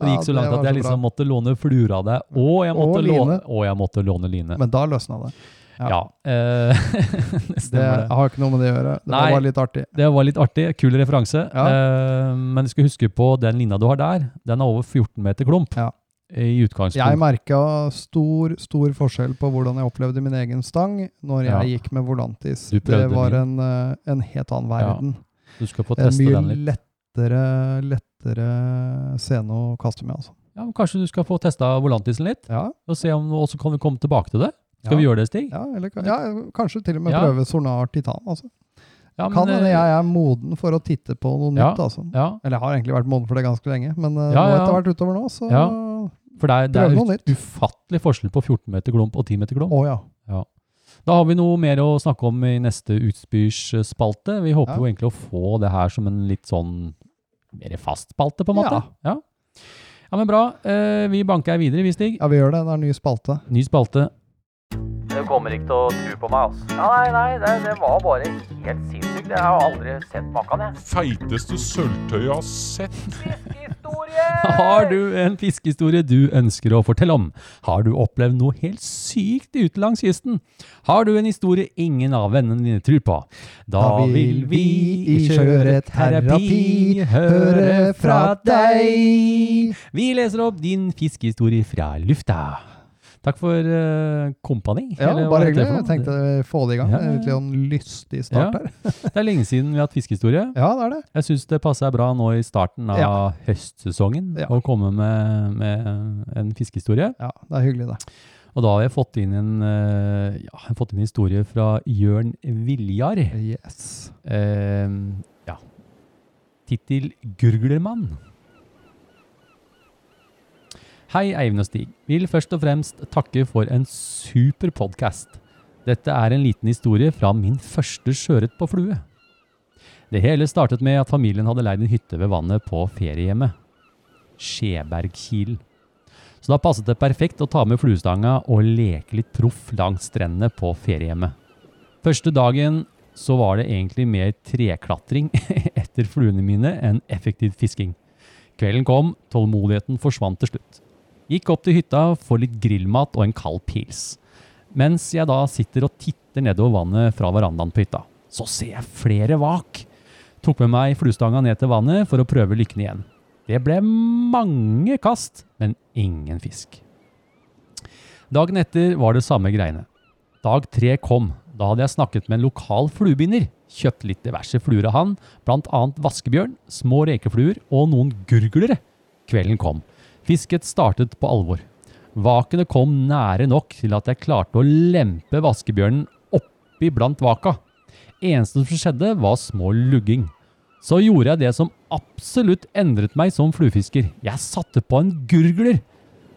Speaker 2: Og det
Speaker 6: Ja,
Speaker 2: gikk så
Speaker 6: det
Speaker 2: langt
Speaker 6: var
Speaker 2: at jeg
Speaker 6: så bra.
Speaker 2: liksom måtte låne fluer av deg, og jeg måtte,
Speaker 6: Og
Speaker 2: låne,
Speaker 6: line.
Speaker 2: og jeg måtte låne line.
Speaker 6: Men da løsna det. ja.
Speaker 2: Ja. eh, (laughs) det
Speaker 6: Det
Speaker 2: stemmer det.
Speaker 6: har ikke noe med det å gjøre. Det
Speaker 2: Nei.
Speaker 6: var bare litt artig.
Speaker 2: Det var litt artig. Kul referanse.
Speaker 6: Ja.
Speaker 2: Eh, men du skal huske på den lina du har der. Den er over 14 meter klump.
Speaker 6: Ja.
Speaker 2: i utgangspunktet.
Speaker 6: Jeg merka stor, stor forskjell på hvordan jeg opplevde min egen stang når jeg
Speaker 2: Ja.
Speaker 6: gikk med Volantis.
Speaker 2: Du
Speaker 6: Det
Speaker 2: prøvde
Speaker 6: var en,
Speaker 2: min.
Speaker 6: eh, en helt annen
Speaker 2: Ja,
Speaker 6: verden.
Speaker 2: Du skal få
Speaker 6: Det er
Speaker 2: teste
Speaker 6: mye
Speaker 2: den litt.
Speaker 6: lettere, lettere scene å kaste med, altså.
Speaker 2: Ja, men kanskje du skal få testa volantisen litt,
Speaker 6: Ja,
Speaker 2: og se om, og så kan vi komme tilbake til det. Skal vi
Speaker 6: Ja.
Speaker 2: gjøre det, Stig?
Speaker 6: ja, eller, ka- ja kanskje til og med
Speaker 2: Ja.
Speaker 6: prøve Sonar Titan. Altså.
Speaker 2: Ja, men,
Speaker 6: Kan hende
Speaker 2: eh,
Speaker 6: jeg er moden for å titte på noe
Speaker 2: Ja.
Speaker 6: nytt. Altså.
Speaker 2: Ja,
Speaker 6: Eller jeg har egentlig vært moden for det ganske lenge, men eh,
Speaker 2: Ja,
Speaker 6: nå
Speaker 2: ja.
Speaker 6: etter hvert utover nå, så Å
Speaker 2: for det er, det
Speaker 6: Prøv
Speaker 2: er
Speaker 6: noe
Speaker 2: ut-
Speaker 6: nytt.
Speaker 2: ufattelig forskjell på 14 meter glomp og 10 meter glomp.
Speaker 6: ja.
Speaker 2: Da har vi noe mer å snakke om i neste utspyrsspalte. Vi håper
Speaker 6: Ja.
Speaker 2: jo egentlig å få det her som en litt sånn mer fast spalte, på en måte. Ja. ja. men bra. Eh, vi banker videre, vi, Stig.
Speaker 6: ja, vi gjør det. Det er en ny spalte.
Speaker 2: Ny spalte.
Speaker 3: Du kommer ikke til å tro på meg, altså. Ja, nei, nei, det, det var bare helt sinnssykt. Jeg har aldri sett maken, jeg.
Speaker 4: Feiteste sølvtøyet jeg har sett.
Speaker 3: (laughs)
Speaker 2: (laughs)
Speaker 3: Historie!
Speaker 2: Har du en fiskehistorie du ønsker å fortelle om? Har du opplevd noe helt sykt ute langs kysten? Har du en historie ingen av vennene dine tror på? Da vil vi i Sjøreterapi høre fra deg. Vi leser opp din fiskehistorie fra lufta. Takk for eh, kompani.
Speaker 6: Ja,
Speaker 2: eller hva
Speaker 6: bare
Speaker 2: heter det for
Speaker 6: hyggelig. Jeg
Speaker 2: noe?
Speaker 6: tenkte få det i gang.
Speaker 2: Ja,
Speaker 6: Det
Speaker 2: ja,
Speaker 6: er
Speaker 2: ja.
Speaker 6: egentlig en lystig start der.
Speaker 2: Det er lenge siden vi har hatt fiskehistorie.
Speaker 6: Ja, det er det.
Speaker 2: Jeg syns det passer bra nå i starten av
Speaker 6: Ja.
Speaker 2: høstsesongen
Speaker 6: Ja.
Speaker 2: å komme med, med en fiskehistorie.
Speaker 6: Ja, det er hyggelig, det.
Speaker 2: Og da har jeg fått inn en, eh, ja, jeg har fått inn en historie fra Jørn Viljar.
Speaker 6: Yes.
Speaker 2: Eh, ja. Tittel Gurglermann. Hei, Eivind og Stig. Vil først og fremst takke for en super podkast. Dette er en liten historie fra min første sjøørret på flue. Det hele startet med at familien hadde leid en hytte ved vannet på feriehjemmet. Skjebergkilen. Så da passet det perfekt å ta med fluestanga og leke litt proff langs strendene på feriehjemmet. Første dagen så var det egentlig mer treklatring (laughs) etter fluene mine enn effektiv fisking. Kvelden kom, tålmodigheten forsvant til slutt. Gikk opp til hytta, får litt grillmat og en kald pils. Mens jeg da sitter og titter nedover vannet fra verandaen på hytta. Så ser jeg flere vak! Tok med meg fluestanga ned til vannet for å prøve lykken igjen. Det ble mange kast, men ingen fisk. Dagen etter var det samme greiene. Dag tre kom. Da hadde jeg snakket med en lokal fluebinder. Kjøpt litt diverse fluer av han, bl.a. vaskebjørn, små rekefluer og noen gurglere. Kvelden kom. Fisket startet på alvor. Vakene kom nære nok til at jeg klarte å lempe vaskebjørnen oppi blant vaka. Eneste som skjedde, var små lugging. Så gjorde jeg det som absolutt endret meg som fluefisker. Jeg satte på en gurgler.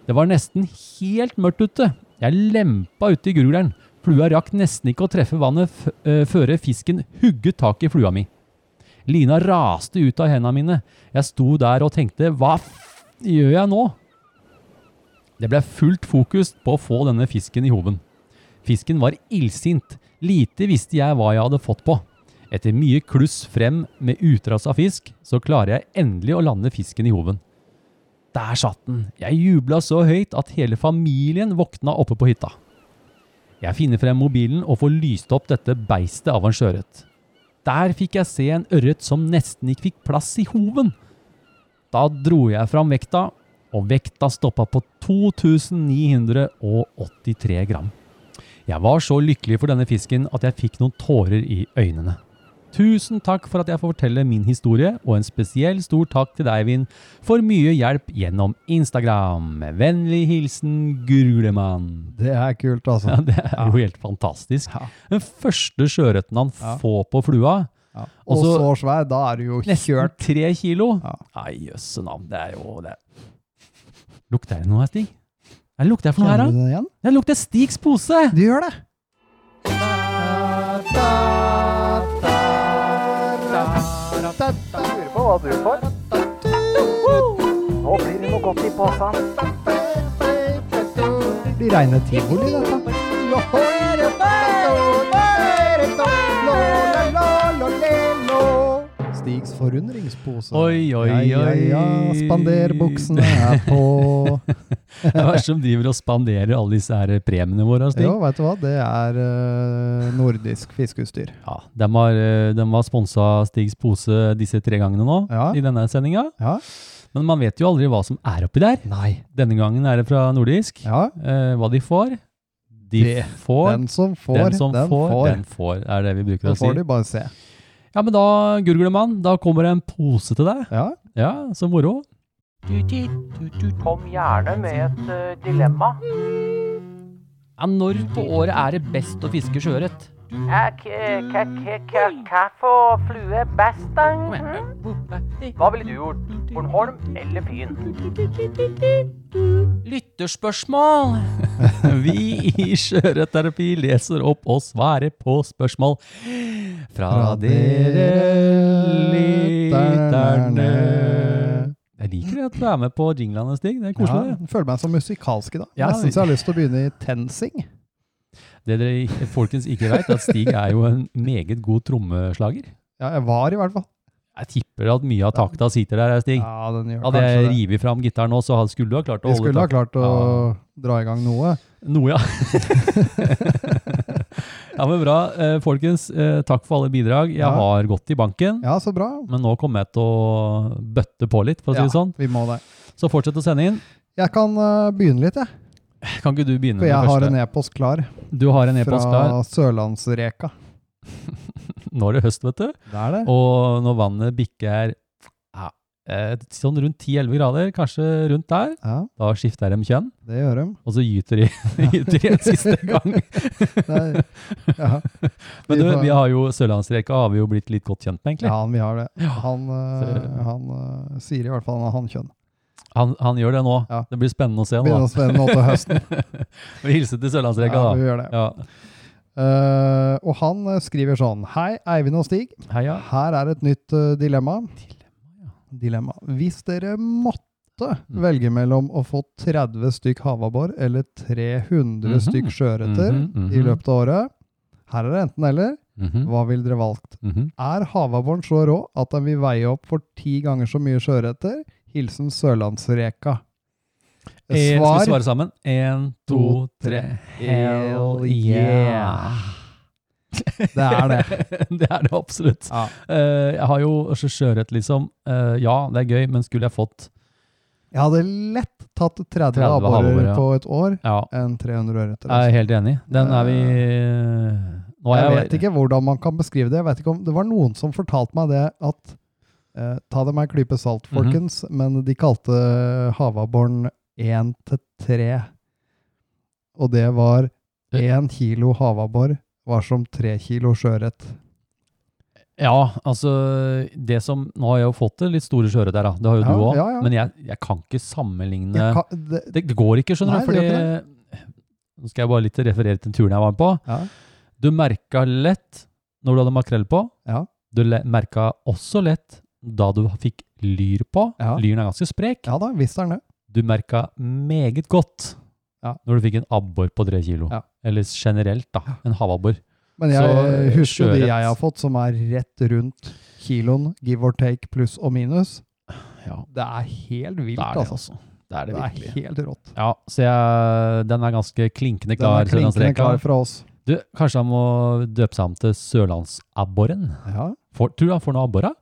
Speaker 2: Det var nesten helt mørkt ute. Jeg lempa uti gurgleren. Flua rakk nesten ikke å treffe vannet f eh, før fisken hugget tak i flua mi. Lina raste ut av hendene mine. Jeg sto der og tenkte hva f gjør jeg nå? Det ble fullt fokus på å få denne fisken i hoven. Fisken var illsint. Lite visste jeg hva jeg hadde fått på. Etter mye kluss frem med utras av fisk, så klarer jeg endelig å lande fisken i hoven. Der satt den. Jeg jubla så høyt at hele familien våkna oppe på hytta. Jeg finner frem mobilen og får lyst opp dette beistet av en sjøørret. Der fikk jeg se en ørret som nesten ikke fikk plass i hoven. Da dro jeg fram vekta, og vekta stoppa på 2983 gram. Jeg var så lykkelig for denne fisken at jeg fikk noen tårer i øynene. Tusen takk for at jeg får fortelle min historie, og en spesiell stor takk til deg, Eivind, for mye hjelp gjennom Instagram. Med vennlig hilsen Gurlemann.
Speaker 6: Det er kult, altså.
Speaker 2: Ja, (laughs) det er jo helt fantastisk.
Speaker 6: Ja.
Speaker 2: Den første sjøørreten han
Speaker 6: Ja.
Speaker 2: får på flua,
Speaker 6: Ja.
Speaker 2: Og
Speaker 6: Og
Speaker 2: så-
Speaker 6: så svær, da er du jo
Speaker 2: nesten
Speaker 6: kjørt.
Speaker 2: tre kilo.
Speaker 6: Ja.
Speaker 2: Nei, jøsse navn, det er jo det. Lukter det noe her, Stig? Hva lukter det for noe her,
Speaker 6: Kjenner du
Speaker 2: da?
Speaker 6: det igjen?
Speaker 2: Det lukter Stigs pose!
Speaker 6: (laughs) Du gjør det!
Speaker 5: Lurer på hva du får.
Speaker 3: Nå blir det noe godt i posen.
Speaker 6: Blir reine tivoli, dette. Stigs forundringspose.
Speaker 2: Oi, oi,
Speaker 6: Ja, ja, ja.
Speaker 2: oi.
Speaker 6: Spanderbuksene er
Speaker 2: (laughs)
Speaker 6: på
Speaker 2: Det er hva som driver og spanderer alle disse her premiene våre, Stig?
Speaker 6: Jo, veit du hva, det er eh, nordisk fiskeutstyr.
Speaker 2: Ja, de har, eh, de har sponsa Stigs pose disse tre gangene nå,
Speaker 6: Ja.
Speaker 2: i denne sendinga.
Speaker 6: Ja.
Speaker 2: Men man vet jo aldri hva som er oppi der.
Speaker 6: Nei.
Speaker 2: Denne gangen er det fra nordisk.
Speaker 6: Ja,
Speaker 2: Eh, hva de får. De
Speaker 6: Det-
Speaker 2: får
Speaker 6: den som får,
Speaker 2: den som får, den får, er det vi bruker
Speaker 6: Så
Speaker 2: å si.
Speaker 6: får de bare se.
Speaker 2: Ja, men da gurgler man. Da kommer det en pose til deg.
Speaker 6: Ja.
Speaker 2: Ja, så moro.
Speaker 3: Kom gjerne med et eh, dilemma.
Speaker 1: Ja, når på året er det best å fiske sjøørret?
Speaker 3: Hva for flue best, da? Mhm. Hva ville du gjort? Bornholm eller Fyn?
Speaker 1: Lytterspørsmål!
Speaker 2: (laughs) Vi i Sjøørretterapi leser opp og svarer på spørsmål fra dere lytterne. Jeg liker det at du er med på jinglene, Stig. Det er koselig.
Speaker 6: Ja, føler meg som musikalsk i dag.
Speaker 2: Ja,
Speaker 6: Nesten
Speaker 2: vi-
Speaker 6: så jeg har lyst til å begynne i tensing.
Speaker 2: Det Det dere folkens ikke vet, er at Stig er jo en meget god trommeslager.
Speaker 6: Ja, jeg var i hvert fall.
Speaker 2: Jeg tipper at mye av takta sitter der, Stig.
Speaker 6: Ja, den gjør
Speaker 2: Hadde
Speaker 6: kanskje
Speaker 2: jeg
Speaker 6: det.
Speaker 2: revet fram gitaren nå, så hadde- skulle du ha klart å
Speaker 6: Vi
Speaker 2: holde
Speaker 6: skulle ha klart å
Speaker 2: Ja.
Speaker 6: dra i gang noe.
Speaker 2: Noe, ja. (laughs) ja, men bra. Eh, Folkens, eh, takk for alle bidrag. Jeg
Speaker 6: Ja.
Speaker 2: har gått i banken,
Speaker 6: Ja, så bra.
Speaker 2: men nå kommer jeg til å bøtte på litt, for å si
Speaker 6: Ja,
Speaker 2: det sånn.
Speaker 6: vi må det.
Speaker 2: Så fortsett å sende inn.
Speaker 6: Jeg kan eh, begynne litt, jeg.
Speaker 2: Kan ikke du begynne
Speaker 6: For
Speaker 2: med
Speaker 6: jeg har
Speaker 2: første?
Speaker 6: en e-post klar
Speaker 2: Du har en e-post klar.
Speaker 6: fra Sørlandsreka.
Speaker 2: Nå er det høst, vet du.
Speaker 6: Det er det.
Speaker 2: Og når vannet bikker ja, eh, sånn rundt 10-11 grader, kanskje rundt der,
Speaker 6: Ja,
Speaker 2: da skifter de kjønn,
Speaker 6: det gjør de.
Speaker 2: og så gyter de, (laughs) gyter de en siste
Speaker 6: (laughs)
Speaker 2: gang.
Speaker 6: Det er,
Speaker 2: (laughs)
Speaker 6: ja.
Speaker 2: Men du,
Speaker 6: Vi får-
Speaker 2: vi har jo Sørlandsreka har vi jo blitt litt godt kjent med, egentlig.
Speaker 6: ja, vi har det. Han, eh,
Speaker 2: Så-
Speaker 6: han eh, sier i hvert fall han har hankjønn.
Speaker 2: Han, han gjør det nå.
Speaker 6: Ja.
Speaker 2: Det blir spennende å se nå.
Speaker 6: Begynner å spille nå til høsten.
Speaker 2: (laughs) da. Vi hilser til Sørlandsreka,
Speaker 6: Ja, vi
Speaker 2: da.
Speaker 6: gjør det.
Speaker 2: Ja.
Speaker 6: Eh, og han eh, skriver sånn Hei, Eivind og Stig.
Speaker 2: Heia.
Speaker 6: Her er et nytt eh, dilemma. Dilemma. Hvis dere måtte
Speaker 2: Mm.
Speaker 6: velge mellom å få 30 stykk havabbor eller 300
Speaker 2: Mhm.
Speaker 6: stykk sjøørreter
Speaker 2: Mhm,
Speaker 6: i
Speaker 2: mhm.
Speaker 6: løpet av året Her er det enten eller.
Speaker 2: Mhm,
Speaker 6: Hva ville dere valgt?
Speaker 2: mhm.
Speaker 6: Er havabboren så rå at den vil veie opp for ti ganger så mye sjøørreter? Hilsen Sørlandsreka.
Speaker 2: Eh, Skal vi
Speaker 6: Svar
Speaker 2: svare sammen? Én, to, tre.
Speaker 6: Hell yeah. Det er det.
Speaker 2: (laughs) det (laughs) er det absolutt.
Speaker 6: (laughs) Ja.
Speaker 2: Eh, jeg har jo også sjøørret, liksom. Eh, ja, det er gøy, men skulle jeg fått
Speaker 6: Jeg hadde lett tatt
Speaker 2: 30
Speaker 6: 30, abborer
Speaker 2: havabborer, ja.
Speaker 6: på et år
Speaker 2: Ja,
Speaker 6: enn 300 ørreter.
Speaker 2: jeg er
Speaker 6: altså.
Speaker 2: helt enig. Den er vi Nå
Speaker 6: Jeg
Speaker 2: er
Speaker 6: vet ikke hvordan man kan beskrive det. Jeg vet ikke om, det var noen som fortalte meg det at eh, Ta det med en klype salt,
Speaker 2: Mhm.
Speaker 6: folkens, men de kalte havabboren 1 til 3. Og det var
Speaker 2: Det-
Speaker 6: 1 kilo havabbor var som 3 kilo sjøørret.
Speaker 2: Ja, altså det som, Nå har jeg jo fått det litt store sjøørret der, da. Det har jo
Speaker 6: Ja,
Speaker 2: du òg.
Speaker 6: ja, ja.
Speaker 2: Men jeg, jeg kan ikke sammenligne
Speaker 6: Jeg kan- det-
Speaker 2: det, det går ikke, skjønner
Speaker 6: Nei,
Speaker 2: du. Fordi,
Speaker 6: det gjør
Speaker 2: Nå skal jeg bare litt referere til turen jeg var på.
Speaker 6: Ja.
Speaker 2: Du merka lett når du hadde makrell på.
Speaker 6: Ja.
Speaker 2: Du le- merka også lett da du fikk lyr på.
Speaker 6: Ja.
Speaker 2: Lyren er ganske sprek.
Speaker 6: Ja da, visst er den det.
Speaker 2: Du merka meget godt
Speaker 6: Ja.
Speaker 2: når du fikk en abbor på tre kilo.
Speaker 6: Ja.
Speaker 2: Eller generelt, da. En havabbor.
Speaker 6: Men jeg
Speaker 2: Så, eh,
Speaker 6: husker jo de
Speaker 2: sjøørret.
Speaker 6: jeg har fått, som er rett rundt kiloen, give or take, pluss og minus.
Speaker 2: Ja.
Speaker 6: Det er helt vilt,
Speaker 2: Det er det,
Speaker 6: altså.
Speaker 2: altså. Det er det
Speaker 6: Det er
Speaker 2: virkelig.
Speaker 6: helt rått.
Speaker 2: Ja, så jeg, den er ganske klinkende
Speaker 6: Den
Speaker 2: klar.
Speaker 6: er klinkende
Speaker 2: Sørlandsreka.
Speaker 6: klar fra oss.
Speaker 2: Du, kanskje han må døpe seg om til Sørlandsabboren?
Speaker 6: Ja.
Speaker 2: Får- Tror du han får noe abbor av?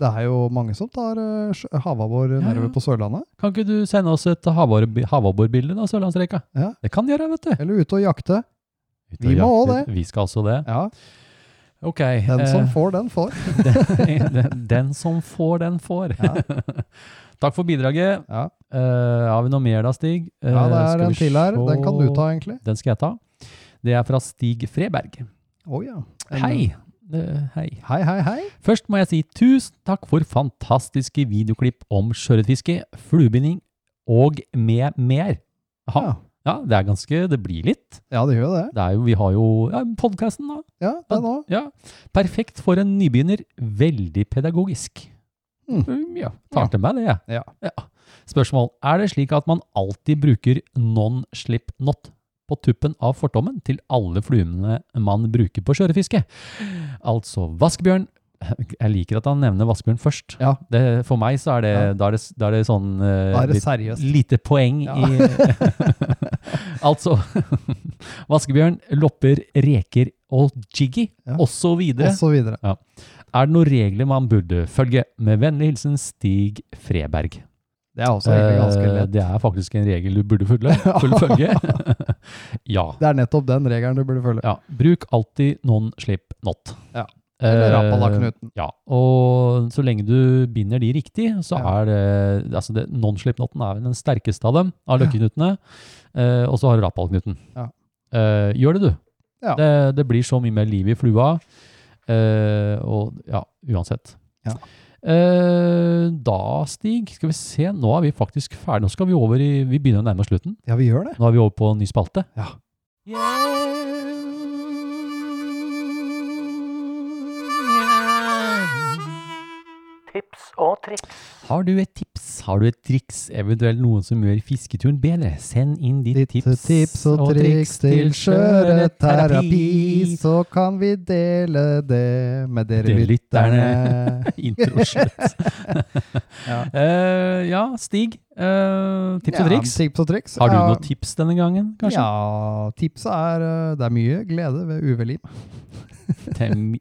Speaker 6: Det er jo mange som tar eh, sjø- havabbor
Speaker 2: ja.
Speaker 6: nedover på Sørlandet.
Speaker 2: Kan ikke du sende oss et havabbor- havabborbilde av Sørlandsreka?
Speaker 6: Ja.
Speaker 2: Det kan de gjøre, vet du.
Speaker 6: Eller ute og jakte.
Speaker 2: Ut
Speaker 6: Vi
Speaker 2: og
Speaker 6: må
Speaker 2: jakte.
Speaker 6: også
Speaker 2: Vi skal også det.
Speaker 6: Ja,
Speaker 2: Ok.
Speaker 6: Den som
Speaker 2: eh,
Speaker 6: får, den får.
Speaker 2: (laughs) den, den som får, den får.
Speaker 6: Ja.
Speaker 2: (laughs) Takk for bidraget.
Speaker 6: Ja,
Speaker 2: Eh, har vi noe mer da, Stig? Eh,
Speaker 6: ja det
Speaker 2: skal
Speaker 6: er
Speaker 2: vi
Speaker 6: en til her. Den kan du
Speaker 2: se-
Speaker 6: ta, egentlig.
Speaker 2: Den skal jeg ta. Det er fra Stig Freberg.
Speaker 6: Å ja. En-
Speaker 2: Hei. Eh, hei.
Speaker 6: Hei, hei, hei.
Speaker 2: Først må jeg si tusen takk for fantastiske videoklipp om sjøørretfiske, fluebinding og med mer. Aha.
Speaker 6: Ja.
Speaker 2: Ja, det er ganske Det blir litt.
Speaker 6: Ja, det gjør jo det.
Speaker 2: Det er jo, vi har jo ja, podkasten, da.
Speaker 6: Ja, den òg.
Speaker 2: Ja. Perfekt for en nybegynner. Veldig pedagogisk.
Speaker 6: Mm.
Speaker 2: Mm, ja. Tar til meg det, jeg.
Speaker 6: Ja.
Speaker 2: Spørsmål. Er det slik at man alltid bruker non-slip not på tuppen av fortommen til alle fluene man bruker på sjøørretfiske? Altså vaskebjørn. Jeg liker at han nevner vaskebjørn først.
Speaker 6: Ja.
Speaker 2: Det, for meg så er det,
Speaker 6: Ja.
Speaker 2: da er det, da er det sånn eh,
Speaker 6: Da er det
Speaker 2: litt-
Speaker 6: seriøst.
Speaker 2: lite poeng
Speaker 6: Ja.
Speaker 2: i
Speaker 6: (laughs)
Speaker 2: Altså (laughs) Vaskebjørn, lopper, reker og jiggy,
Speaker 6: Ja.
Speaker 2: og så videre.
Speaker 6: Og så videre.
Speaker 2: Er det noen regler man burde følge? Med vennlig hilsen Stig Freberg.
Speaker 6: Det er også egentlig ganske
Speaker 2: Eh,
Speaker 6: lett.
Speaker 2: Det er faktisk en regel du burde følge.
Speaker 6: (laughs)
Speaker 2: Følge følge. ja.
Speaker 6: Det er nettopp den regelen du burde følge.
Speaker 2: ja. Bruk alltid non slip not.
Speaker 6: Ja. Eller
Speaker 2: Eh,
Speaker 6: rappallaknuten.
Speaker 2: Ja, og så lenge du binder de riktig, så
Speaker 6: Ja.
Speaker 2: er det, altså det Non-slip-knotten er vel den sterkeste av dem, av løkkeknutene. Eh, og så har du rappallknuten.
Speaker 6: Ja.
Speaker 2: Eh, gjør det, du.
Speaker 6: Ja.
Speaker 2: Det, det blir så mye mer liv i flua. Eh, og ja, uansett.
Speaker 6: Ja.
Speaker 2: Eh, da, Stig, skal vi se. Nå er vi faktisk ferdig. Nå skal vi over i Vi begynner å nærme oss slutten.
Speaker 6: Ja, vi gjør det.
Speaker 2: Nå er vi over på en ny spalte.
Speaker 3: Tips og triks.
Speaker 2: Har du et tips, har du et triks, eventuelt noen som gjør fisketuren bedre, send inn ditt,
Speaker 6: Ditt
Speaker 2: tips,
Speaker 6: tips og triks til sjøreterapi, så kan vi dele det med dere
Speaker 2: Dere lytterne.
Speaker 6: lytterne.
Speaker 2: (laughs) Intro slutt.
Speaker 6: (laughs) Ja.
Speaker 2: (laughs) Eh, ja, Stig. eh, tips og
Speaker 6: Ja,
Speaker 2: triks.
Speaker 6: Tips og triks.
Speaker 2: Har du
Speaker 6: Ja.
Speaker 2: noen tips denne gangen, kanskje?
Speaker 6: Ja, tipset er eh, det er mye glede ved UV-lim.
Speaker 2: Det er my-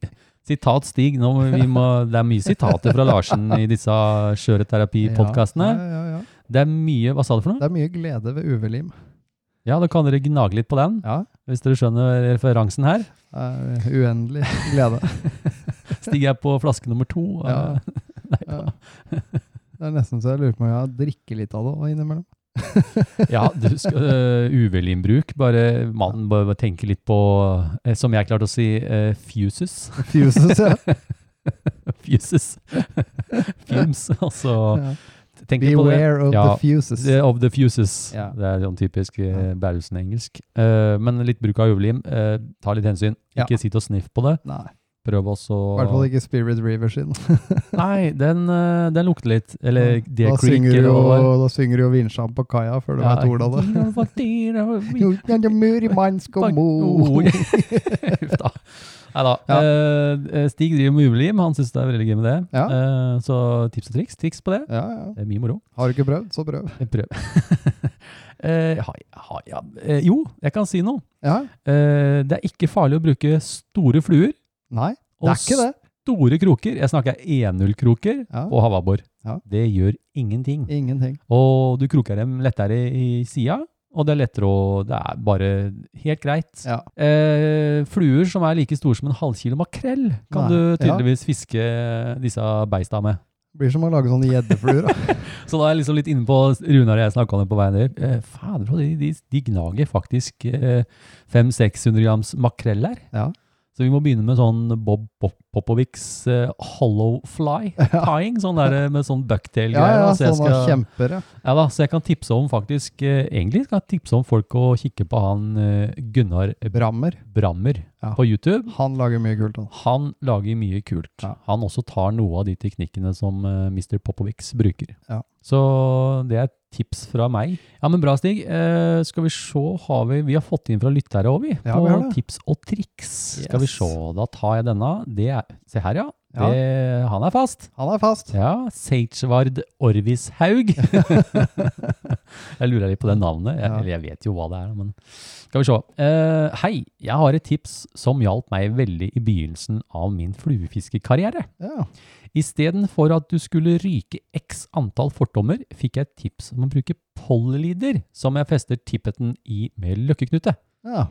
Speaker 2: Sitat Stig. Nå, må vi må, det er mye sitater fra Larsen i disse sjøreterapi-podkastene.
Speaker 6: Ja, ja, ja, ja.
Speaker 2: Det er mye Hva sa du for noe?
Speaker 6: Det er mye glede ved UV-lim.
Speaker 2: Ja, da kan dere gnage litt på den,
Speaker 6: Ja,
Speaker 2: hvis dere skjønner referansen her.
Speaker 6: det er uendelig
Speaker 2: (laughs)
Speaker 6: glede.
Speaker 2: Stig er på flaske nummer to.
Speaker 6: Ja.
Speaker 2: eh,
Speaker 6: Ja. Det er nesten så jeg lurer på om jeg drikker litt av det og innimellom.
Speaker 2: (laughs)
Speaker 6: (laughs)
Speaker 2: Ja, du skal øh, UV-limbruk. Bare mannen bør bør tenke litt på, eh, som jeg klarte å si, eh, fuses. (laughs)
Speaker 6: Fuses, ja.
Speaker 2: fuses. (laughs) Fumes, altså.
Speaker 6: Ja.
Speaker 2: Tenk litt på det.
Speaker 6: Beware of
Speaker 2: Ja.
Speaker 6: the fuses.
Speaker 2: The- Of the fuses.
Speaker 6: Ja.
Speaker 2: Det er sånn typisk eh, Bærumsen-engelsk. Eh, men litt bruk av UV-lim. Eh, ta litt hensyn.
Speaker 6: Ja.
Speaker 2: Ikke sitt og sniff på det.
Speaker 6: Nei,
Speaker 2: Prøv også
Speaker 6: i hvert fall ikke Spirit River sin.
Speaker 2: Nei, den, eh, den lukter litt. (laughs) Eller det
Speaker 6: Da synger,
Speaker 2: creaker
Speaker 6: du
Speaker 2: og
Speaker 6: jo, da synger du jo vinsjamp på kaia før du vet ordet av
Speaker 2: (laughs)
Speaker 6: det. (laughs)
Speaker 2: det.
Speaker 6: Jo, ja, ja, mur i Manskomo.
Speaker 2: Ord. Oh, (laughs) Uff da. Nei da.
Speaker 6: Ja.
Speaker 2: Eh, Stig driver med uvelim, han syns det er veldig gøy med det.
Speaker 6: Ja.
Speaker 2: Eh, så tips og triks. Triks på det.
Speaker 6: Ja, ja.
Speaker 2: Det er mye moro.
Speaker 6: Har du ikke prøvd, så prøv.
Speaker 2: Jeg prøver. (laughs) Eh, har jeg- har jeg- eh, jo, jeg kan si noe.
Speaker 6: Ja,
Speaker 2: Eh, det er ikke farlig å bruke store fluer
Speaker 6: Nei, det
Speaker 2: og
Speaker 6: er ikke det.
Speaker 2: store kroker. Jeg snakker 1-0-kroker
Speaker 6: Ja.
Speaker 2: og havabbor.
Speaker 6: Ja.
Speaker 2: Det gjør ingenting.
Speaker 6: Ingenting.
Speaker 2: Og du kroker dem lettere i sida, og det er lettere å Det er bare helt greit.
Speaker 6: Ja.
Speaker 2: Eh, fluer som er like store som en halvkilo makrell, kan
Speaker 6: Nei,
Speaker 2: du
Speaker 6: ja.
Speaker 2: tydeligvis fiske disse beista med.
Speaker 6: Blir som å lage sånne (laughs) gjeddefluer. da.
Speaker 2: Så da er jeg liksom litt inne på Runar og jeg snakka om det på veien ned. Eh, fader, og de, de, de gnager faktisk eh, 500-600 grams makrell her.
Speaker 6: Ja.
Speaker 2: Så vi må begynne med sånn Bob Pop Popovics eh, hollow
Speaker 6: (laughs)
Speaker 2: fly tying, sånn der eh, med sånn bucktail
Speaker 6: Ja, ja,
Speaker 2: så jeg
Speaker 6: sånne
Speaker 2: skal-
Speaker 6: kjempere.
Speaker 2: ja da, så jeg kan tipse om faktisk, eh, egentlig skal jeg tipse om folk å kikke på han eh, Gunnar
Speaker 6: Brammer.
Speaker 2: Brammer
Speaker 6: Ja.
Speaker 2: på YouTube.
Speaker 6: Han lager mye kult. Han.
Speaker 2: sånn, Han lager mye kult.
Speaker 6: Ja.
Speaker 2: Han også tar noe av de teknikkene som eh, Mr. Popovics bruker.
Speaker 6: Ja.
Speaker 2: Så det er et tips fra meg. Ja, men bra, Stig. Eh, skal vi se, har vi, vi har fått inn fra lyttere òg, vi.
Speaker 6: Ja,
Speaker 2: på
Speaker 6: vi har det.
Speaker 2: tips og triks. Skal vi
Speaker 6: Yes.
Speaker 2: se, da tar jeg denne. Det er, se her, ja.
Speaker 6: Ja.
Speaker 2: Det, han er fast.
Speaker 6: Han er fast.
Speaker 2: Ja, Seichvard
Speaker 6: (laughs)
Speaker 2: Orvishaug. jeg lurer litt på det navnet. Jeg,
Speaker 6: Ja.
Speaker 2: Eller jeg vet jo hva det er, men skal vi se. Eh, hei, jeg har et tips som hjalp meg veldig i begynnelsen av min fluefiskekarriere.
Speaker 6: Ja.
Speaker 2: Istedenfor at du skulle ryke x antall fortommer, fikk jeg et tips om å bruke polylider, som jeg fester tippeten i med løkkeknute.
Speaker 6: ja.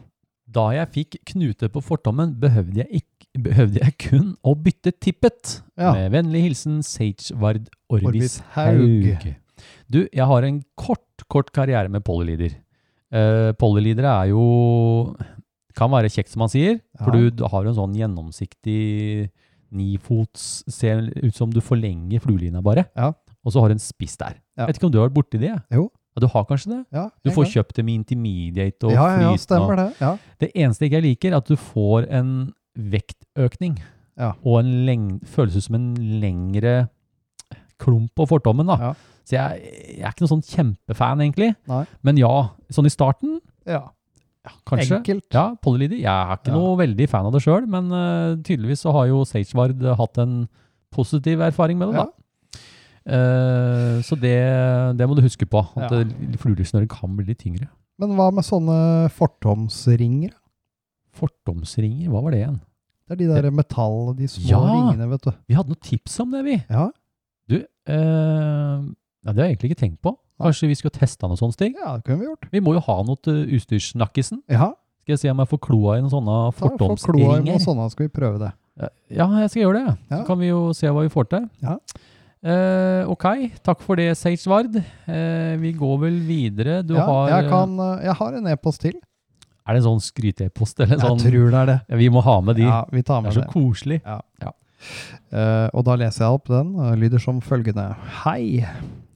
Speaker 2: Da jeg fikk knute på fortommen, behøvde jeg, ikk- behøvde jeg kun å bytte tippet.
Speaker 6: Ja.
Speaker 2: Med vennlig hilsen Sagevard Orvis
Speaker 6: Orvis Haug.
Speaker 2: Haug. Du, jeg har en kort, kort karriere med polylider. Uh, polylider er jo kan være kjekt, som han sier, for du,
Speaker 6: Ja.
Speaker 2: du har en sånn gjennomsiktig nifots Ser ut som du forlenger fluelina, bare.
Speaker 6: Ja.
Speaker 2: Og så har du en spiss der.
Speaker 6: Ja.
Speaker 2: Vet ikke om du har vært borti det?
Speaker 6: Jo.
Speaker 2: Ja, du har kanskje det?
Speaker 6: ja
Speaker 2: Du
Speaker 6: en
Speaker 2: får
Speaker 6: gang.
Speaker 2: kjøpt det med intermediate og
Speaker 6: Ja, ja, ja,
Speaker 2: flytende og-
Speaker 6: stemmer det. Ja.
Speaker 2: det eneste ikke jeg liker, er at du får en vektøkning.
Speaker 6: Ja.
Speaker 2: Og en leng- føles ut som en lengre klump på fortommen. Da.
Speaker 6: Ja.
Speaker 2: Så jeg, jeg er ikke noen sånn kjempefan, egentlig.
Speaker 6: Nei.
Speaker 2: Men ja, sånn i starten,
Speaker 6: ja.
Speaker 2: kanskje.
Speaker 6: Enkelt.
Speaker 2: Ja, polylider. Jeg er ikke
Speaker 6: Ja.
Speaker 2: noe veldig fan av det sjøl, men eh, tydeligvis så har jo Sagevard hatt en positiv erfaring med det,
Speaker 6: Ja.
Speaker 2: da. Eh, så det, det må du huske på, at
Speaker 6: Ja.
Speaker 2: ja. fluelysnøret kan bli litt tyngre.
Speaker 6: Men hva med sånne fortomsringer?
Speaker 2: Fortomsringer, hva var det igjen?
Speaker 6: Det er de der metall, de små
Speaker 2: Ja.
Speaker 6: ringene, vet du.
Speaker 2: Vi hadde noen tips om det, vi.
Speaker 6: Ja.
Speaker 2: Du, eh, Ja, det har jeg egentlig ikke tenkt på. Kanskje vi skulle testa noen sånne ting?
Speaker 6: Ja, det kunne vi gjort.
Speaker 2: Vi må jo ha noe til utstyrssnakkisen.
Speaker 6: Ja,
Speaker 2: Skal jeg se om jeg får kloa i noen sånne
Speaker 6: ta for kloarm og
Speaker 2: fordomsringer?
Speaker 6: sånne skal vi prøve det.
Speaker 2: Ja, jeg skal gjøre det. Så
Speaker 6: Ja.
Speaker 2: kan vi jo se hva vi får til.
Speaker 6: Ja.
Speaker 2: Eh, ok, takk for det, Sage Vard. Eh, vi går vel videre. Du
Speaker 6: ja,
Speaker 2: har
Speaker 6: jeg, kan, eh, jeg har en e-post til.
Speaker 2: Er det en sånn skrytepost eller sånn?
Speaker 6: Jeg tror det er det.
Speaker 2: Ja, vi må ha med de.
Speaker 6: Ja, vi tar
Speaker 2: det
Speaker 6: med
Speaker 2: er så
Speaker 6: det.
Speaker 2: koselig.
Speaker 6: Eh, og da leser jeg opp den, og lyder som følgende. Hei!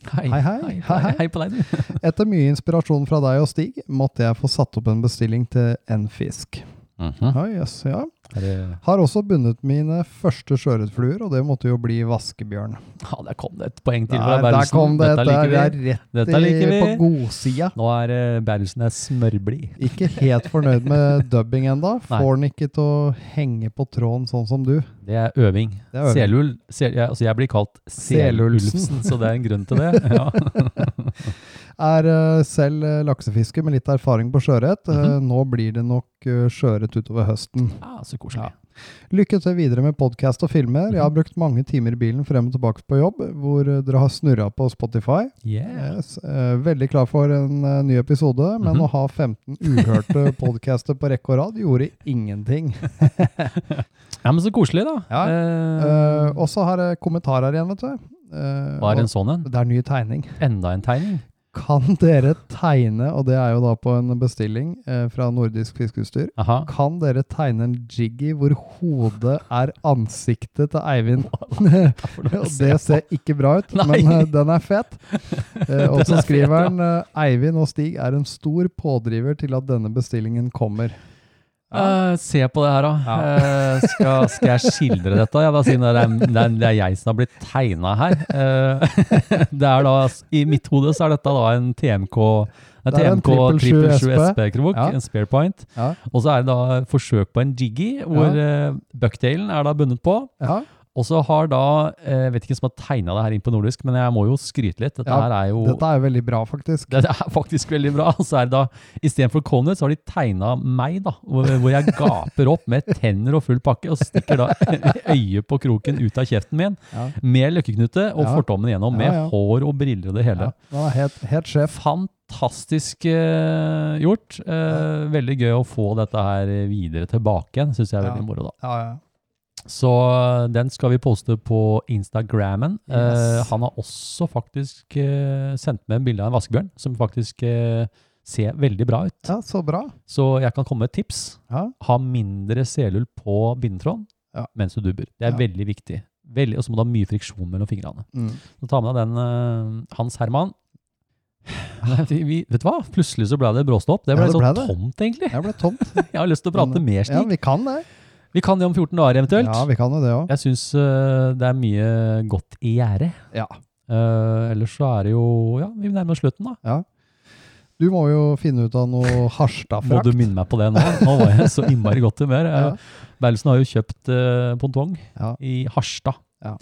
Speaker 2: Hei,
Speaker 6: Hei, hei.
Speaker 2: Hei,
Speaker 6: Hei, hei.
Speaker 2: hei på deg, du.
Speaker 6: Etter mye inspirasjon fra deg og Stig, måtte jeg få satt opp en bestilling til N-fisk. Ja, jøss, ja.
Speaker 2: Er det
Speaker 6: Har også bundet mine første sjøørretfluer, og det måtte jo bli vaskebjørn.
Speaker 2: Ja, Ah, der kom det et poeng til fra
Speaker 6: Der, der
Speaker 2: Berlsen.
Speaker 6: kom det,
Speaker 2: Dette
Speaker 6: der,
Speaker 2: liker vi.
Speaker 6: vi er rett
Speaker 2: Dette liker
Speaker 6: i-
Speaker 2: vi.
Speaker 6: på godsida.
Speaker 2: Nå er eh, Berlsen er smørblid.
Speaker 6: Ikke helt
Speaker 2: (laughs)
Speaker 6: fornøyd med dubbing enda.
Speaker 2: Nei.
Speaker 6: Får den ikke til å henge på tråden sånn som du.
Speaker 2: Det er øving.
Speaker 6: Det er øving.
Speaker 2: Selul, sel, jeg, altså jeg blir kalt
Speaker 6: Selulfsen.
Speaker 2: Selulfsen, så det er en grunn til
Speaker 6: (laughs)
Speaker 2: det. Ja.
Speaker 6: Er eh, selv eh, laksefisker med litt erfaring på sjøørret. Eh,
Speaker 2: Mhm.
Speaker 6: Nå blir det nok eh, sjøørret utover høsten.
Speaker 2: Ja, Ah, så koselig.
Speaker 6: Lykke til videre med podkast og filmer. Jeg har
Speaker 2: Mhm.
Speaker 6: brukt mange timer i bilen frem og tilbake på jobb, hvor eh, dere har snurra på Spotify.
Speaker 2: Yeah.
Speaker 6: Yes. eh, Veldig klar for en eh, ny episode, men
Speaker 2: Mhm.
Speaker 6: å ha 15
Speaker 2: (laughs)
Speaker 6: uhørte podcaster på rekke og rad gjorde ingenting.
Speaker 2: Ja, men så koselig, da.
Speaker 6: Ja.
Speaker 2: Eh,
Speaker 6: Eh, og så har jeg kommentarer igjen, vet du. Eh,
Speaker 2: var
Speaker 6: og-
Speaker 2: en sånn en?
Speaker 6: Det er ny tegning.
Speaker 2: Enda en tegning?
Speaker 6: Kan dere tegne, og det er jo da på en bestilling eh, fra Nordisk Fiskeutstyr,
Speaker 2: Aha.
Speaker 6: kan dere tegne en jiggy hvor hodet er ansiktet til Eivind?
Speaker 2: (laughs)
Speaker 6: (laughs) Og det ser ikke bra ut,
Speaker 2: Nei.
Speaker 6: men eh, den
Speaker 2: (laughs)
Speaker 6: er fet. Eh, Og
Speaker 2: Den
Speaker 6: så
Speaker 2: er fet,
Speaker 6: skriver han eh, Eivind og Stig er en stor pådriver til at denne bestillingen kommer.
Speaker 2: Eh, se på det her, da. Eh, skal, skal jeg skildre dette? Ja, da, siden det, er, det, er, det er jeg som har blitt tegna her. Eh, (laughs) det er da, I mitt hode så er dette da en TMK nei,
Speaker 6: Det er en
Speaker 2: TMK 777
Speaker 6: 777
Speaker 2: SP-krok,
Speaker 6: Ja.
Speaker 2: en spare point.
Speaker 6: Ja.
Speaker 2: Og så er det da forsøk på en jiggy, hvor eh, bucktailen er da bundet på.
Speaker 6: Ja,
Speaker 2: Og så har da eh, Vet ikke hvem som har tegna det her inn på nordisk, men jeg må jo skryte litt. Dette
Speaker 6: Ja,
Speaker 2: her er jo (laughs)
Speaker 6: dette er veldig bra, faktisk.
Speaker 2: det er faktisk veldig bra. Så er det da, Istedenfor Conrad, så har de tegna meg, da, hvor hvor jeg gaper opp med tenner og full pakke, og stikker da (laughs) øyet på kroken ut av kjeften min,
Speaker 6: Ja.
Speaker 2: med løkkeknute og
Speaker 6: Ja.
Speaker 2: fortommen igjennom, med
Speaker 6: Ja, ja.
Speaker 2: hår og briller og det hele.
Speaker 6: Ja, den er helt, helt sjef.
Speaker 2: Fantastisk eh, gjort. Eh, Veldig gøy å få dette her eh, videre tilbake igjen, syns jeg er
Speaker 6: Ja.
Speaker 2: veldig moro, da.
Speaker 6: Ja, ja.
Speaker 2: Så eh, den skal vi poste på Instagrammen.
Speaker 6: Yes.
Speaker 2: Eh, han har også faktisk eh, sendt med en bilde av en vaskebjørn, som faktisk eh, ser veldig bra ut.
Speaker 6: ja, så bra.
Speaker 2: Så jeg kan komme med et tips.
Speaker 6: Ja.
Speaker 2: Ha mindre selull på bindetråden
Speaker 6: Ja.
Speaker 2: mens du dubber. Det er
Speaker 6: Ja.
Speaker 2: veldig viktig. Veldig, og så må du ha mye friksjon mellom fingrene.
Speaker 6: Mm.
Speaker 2: Så ta med deg den eh, Hans Herman. Nei, (laughs) Vi, vi, vet du hva? Plutselig så ble det bråstopp. Det
Speaker 6: Ja,
Speaker 2: ble
Speaker 6: det
Speaker 2: så
Speaker 6: ble det.
Speaker 2: tomt, egentlig.
Speaker 6: Jeg
Speaker 2: (laughs)
Speaker 6: ble tomt.
Speaker 2: Jeg har lyst til å prate
Speaker 6: Men-
Speaker 2: mer,
Speaker 6: Ja,
Speaker 2: Stig.
Speaker 6: vi kan det.
Speaker 2: Vi kan det om 14 dager, eventuelt.
Speaker 6: Ja, vi kan jo det òg.
Speaker 2: Jeg syns det er mye godt i gjære.
Speaker 6: Ja.
Speaker 2: Eh, ellers så er det jo Ja, vi nærmer oss slutten, da.
Speaker 6: Du må jo finne ut av noe
Speaker 2: Må
Speaker 6: Harstad-frakt.
Speaker 2: du minne meg på det nå? Nå var jeg så innmari godt humør. Ja.
Speaker 6: Ja.
Speaker 2: Berlsen har jo kjøpt eh, pontong
Speaker 6: Ja.
Speaker 2: i Harstad.
Speaker 6: Ja.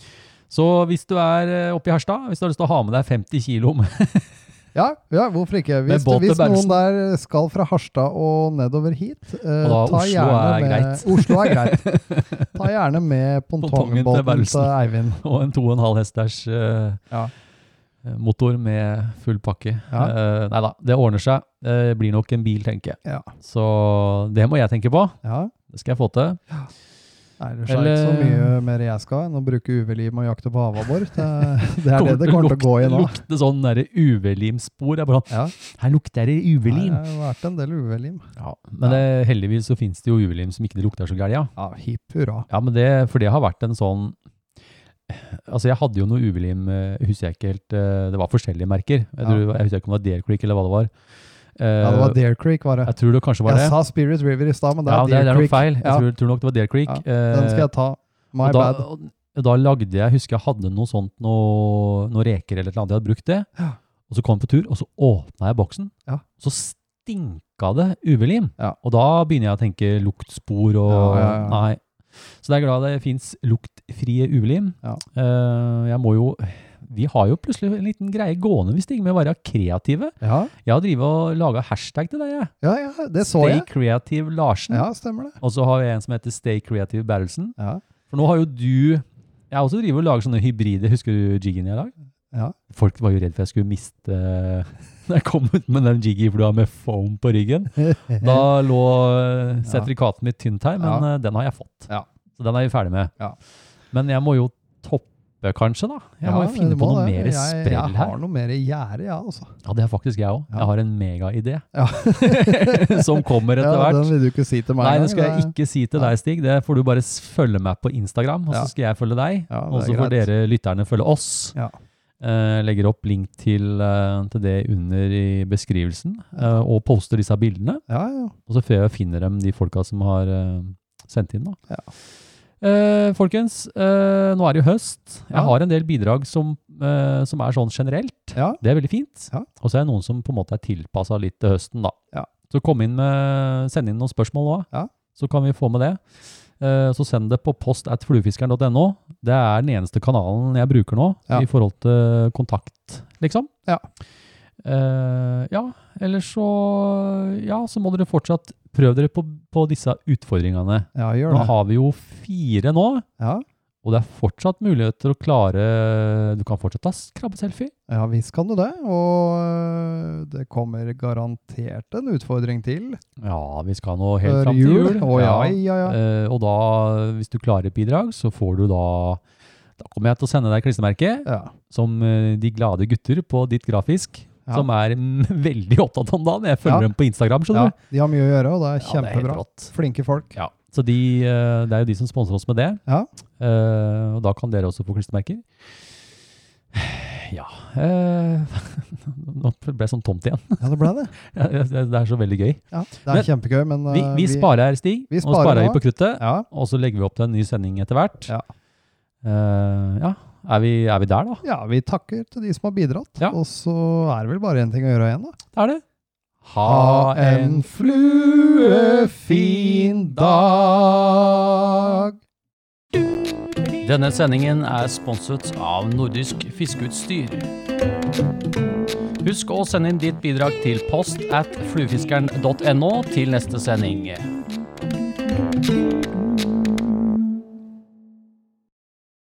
Speaker 2: Så hvis du er eh, oppe i Harstad, hvis du har lyst til å ha med deg 50 kilo med (laughs)
Speaker 6: Ja, ja, hvorfor ikke?
Speaker 2: Med
Speaker 6: Hvis,
Speaker 2: båt til
Speaker 6: hvis noen
Speaker 2: Bergesen.
Speaker 6: der skal fra Harstad og nedover hit, eh,
Speaker 2: Og da
Speaker 6: ta
Speaker 2: Oslo
Speaker 6: gjerne
Speaker 2: er
Speaker 6: med,
Speaker 2: greit.
Speaker 6: Oslo er
Speaker 2: (laughs)
Speaker 6: greit. Ta gjerne med
Speaker 2: Pontongen til
Speaker 6: pongtongbåten
Speaker 2: Bergesen.
Speaker 6: til Eivind.
Speaker 2: og en 2,5 hesters eh,
Speaker 6: Ja.
Speaker 2: eh, motor med full pakke. eh,
Speaker 6: Ja.
Speaker 2: nei da, det ordner seg. Eh, Det blir nok en bil, tenker jeg.
Speaker 6: Ja.
Speaker 2: Så det må jeg tenke på.
Speaker 6: Ja.
Speaker 2: Det skal jeg få til.
Speaker 6: Ellers er det ikke så
Speaker 2: Eller-
Speaker 6: mye mer jeg skal enn å bruke UV-lim og jakte på havabbor. Det, det er det det kommer til å gå i nå.
Speaker 2: Lukte sånn derre UV-limspor. Jeg bare sånn,
Speaker 6: Ja.
Speaker 2: Her lukter det
Speaker 6: Det
Speaker 2: UV-lim.
Speaker 6: har vært en del UV-lim.
Speaker 2: Ja, men det, heldigvis så finnes det jo UV-lim som ikke det lukter så gærent. Ja.
Speaker 6: Ja, hipp hurra.
Speaker 2: ja, men det, for det har vært en sånn Altså, jeg hadde jo noe UV-lim, eh, husker jeg ikke helt eh, Det var forskjellige merker. Jeg, tror, jeg husker ikke om det var Darequick eller hva det var. Eh,
Speaker 6: Ja, det var Dare Creek, var det.
Speaker 2: Jeg tror det kanskje var det.
Speaker 6: Jeg sa Spirit River i stad, men det
Speaker 2: ja,
Speaker 6: er
Speaker 2: det, det
Speaker 6: Dare
Speaker 2: er nok
Speaker 6: Creek.
Speaker 2: feil. Jeg
Speaker 6: Ja.
Speaker 2: tror, tror nok det var Darequick.
Speaker 6: Ja, Den skal jeg ta. My
Speaker 2: og da,
Speaker 6: bad.
Speaker 2: og da lagde jeg, husker jeg hadde noe sånt, noe, noe reker eller noe annet, jeg hadde brukt det.
Speaker 6: Ja.
Speaker 2: Og så kom jeg på tur, og så åpna jeg boksen.
Speaker 6: Ja.
Speaker 2: Så stinka det UV-lim.
Speaker 6: Ja.
Speaker 2: Og da begynner jeg å tenke luktspor og
Speaker 6: Ja, ja, ja.
Speaker 2: Nei. Så det er glad det fins luktfrie UV-lim.
Speaker 6: Ja.
Speaker 2: Eh, jeg må jo Vi har jo plutselig en liten greie gående, hvis det ikke med å være kreative.
Speaker 6: Ja,
Speaker 2: Jeg har drevet og laga hashtag til deg, jeg.
Speaker 6: ja, ja det så
Speaker 2: Stay
Speaker 6: jeg.
Speaker 2: Creative Larsen.
Speaker 6: Ja, stemmer det.
Speaker 2: Og så har jeg en som heter Stay Creative Berrelsen.
Speaker 6: Ja.
Speaker 2: For nå har jo du Jeg har også driver og lager sånne hybride. Husker du jiggen jeg lag?
Speaker 6: Ja.
Speaker 2: Folk var jo redd for jeg skulle miste (laughs) Da jeg kom ut med den jiggyflua med foam på
Speaker 6: (laughs)
Speaker 2: ryggen. Da lå eh, sertifikatet mitt tynt her, men
Speaker 6: Ja.
Speaker 2: eh, den har jeg fått.
Speaker 6: Ja.
Speaker 2: Så den er vi ferdig med.
Speaker 6: Ja.
Speaker 2: Men jeg må jo toppe, kanskje, da. Jeg må
Speaker 6: Ja,
Speaker 2: jo finne
Speaker 6: det
Speaker 2: på
Speaker 6: må
Speaker 2: noe
Speaker 6: det.
Speaker 2: mer
Speaker 6: Jeg-
Speaker 2: sprell
Speaker 6: Jeg
Speaker 2: her.
Speaker 6: har noe mer i gjerdet, ja, altså.
Speaker 2: Ja, det er faktisk jeg òg.
Speaker 6: Ja.
Speaker 2: Jeg har en
Speaker 6: (laughs)
Speaker 2: megaidé
Speaker 6: Ja.
Speaker 2: (laughs) som kommer etter
Speaker 6: Ja,
Speaker 2: hvert.
Speaker 6: den vil du ikke si til meg.
Speaker 2: Nei,
Speaker 6: engang.
Speaker 2: det skal jeg ikke si til
Speaker 6: Nei.
Speaker 2: deg, Stig. Det får du bare s- følge meg på Instagram, og
Speaker 6: Ja.
Speaker 2: så skal jeg følge deg.
Speaker 6: Ja, det
Speaker 2: Og
Speaker 6: er
Speaker 2: så får
Speaker 6: greit.
Speaker 2: dere lytterne følge oss.
Speaker 6: Ja.
Speaker 2: Eh, legger opp link til, eh, til det under i beskrivelsen, eh, og poster disse bildene.
Speaker 6: Ja, ja.
Speaker 2: Og så før jeg finner dem, de folka som har eh, sendt inn, da. Eh, folkens, eh, nå er det jo høst. Jeg
Speaker 6: Ja.
Speaker 2: har en del bidrag som, eh, som er sånn generelt.
Speaker 6: Ja.
Speaker 2: Det er veldig fint.
Speaker 6: Ja.
Speaker 2: Og så er det noen som på en måte er tilpassa litt til høsten, da.
Speaker 6: Ja.
Speaker 2: Så kom inn med, send inn noen spørsmål òg,
Speaker 6: Ja.
Speaker 2: så kan vi få med det. Eh, så send det på post at fluefiskeren.no. Det er den eneste kanalen jeg bruker nå
Speaker 6: Ja.
Speaker 2: i forhold til kontakt, liksom.
Speaker 6: Ja.
Speaker 2: Eh, ja, eller så Ja, så må dere fortsatt prøve dere på, på disse utfordringene.
Speaker 6: ja, gjør
Speaker 2: Nå
Speaker 6: det.
Speaker 2: har vi jo fire nå,
Speaker 6: Ja.
Speaker 2: og det er fortsatt muligheter å klare Du kan fortsatt ta s- krabbeselfie.
Speaker 6: ja, visst kan du det. Og øh, det kommer garantert en utfordring til
Speaker 2: Ja, vi skal nå helt
Speaker 6: før
Speaker 2: fram til
Speaker 6: jul.
Speaker 2: jul.
Speaker 6: Å ja, ja, ja.
Speaker 2: Eh, og da, hvis du klarer et bidrag, så får du da Da kommer jeg til å sende deg klistremerke
Speaker 6: ja.
Speaker 2: som eh, De glade gutter på ditt grafisk,
Speaker 6: Ja.
Speaker 2: som er (laughs) mm, veldig opptatt om dagen. Jeg følger dem
Speaker 6: Ja.
Speaker 2: på Instagram,
Speaker 6: ja.
Speaker 2: skjønner du.
Speaker 6: De har mye å gjøre, og det
Speaker 2: Ja, det
Speaker 6: er
Speaker 2: er helt
Speaker 6: kjempebra.
Speaker 2: rått.
Speaker 6: Flinke folk.
Speaker 2: Ja. Så de, eh, det er jo de som sponser oss med det.
Speaker 6: Ja.
Speaker 2: Eh, og da kan dere også få klistremerker. Ja eh, (laughs) Nå ble jeg sånn tomt igjen. (laughs)
Speaker 6: Ja, det ble det.
Speaker 2: Det det er så veldig gøy.
Speaker 6: Ja, det er
Speaker 2: Men
Speaker 6: kjempegøy, men
Speaker 2: Vi,
Speaker 6: øh,
Speaker 2: vi sparer her, Stig.
Speaker 6: vi
Speaker 2: nå
Speaker 6: sparer
Speaker 2: sparer
Speaker 6: nå.
Speaker 2: vi på kruttet.
Speaker 6: Ja,
Speaker 2: Og så legger vi opp til en ny sending etter hvert.
Speaker 6: Ja.
Speaker 2: Eh, ja. Er, vi, er vi der, da?
Speaker 6: ja, vi takker til de som har bidratt.
Speaker 2: Ja.
Speaker 6: Og så er det vel bare én ting å gjøre igjen, da.
Speaker 2: Det er det.
Speaker 6: Ha en fluefin dag.
Speaker 1: Denne sendingen er sponset av Nordisk Fiskeutstyr. Husk å sende inn ditt bidrag til post at fluefiskeren.no til neste sending.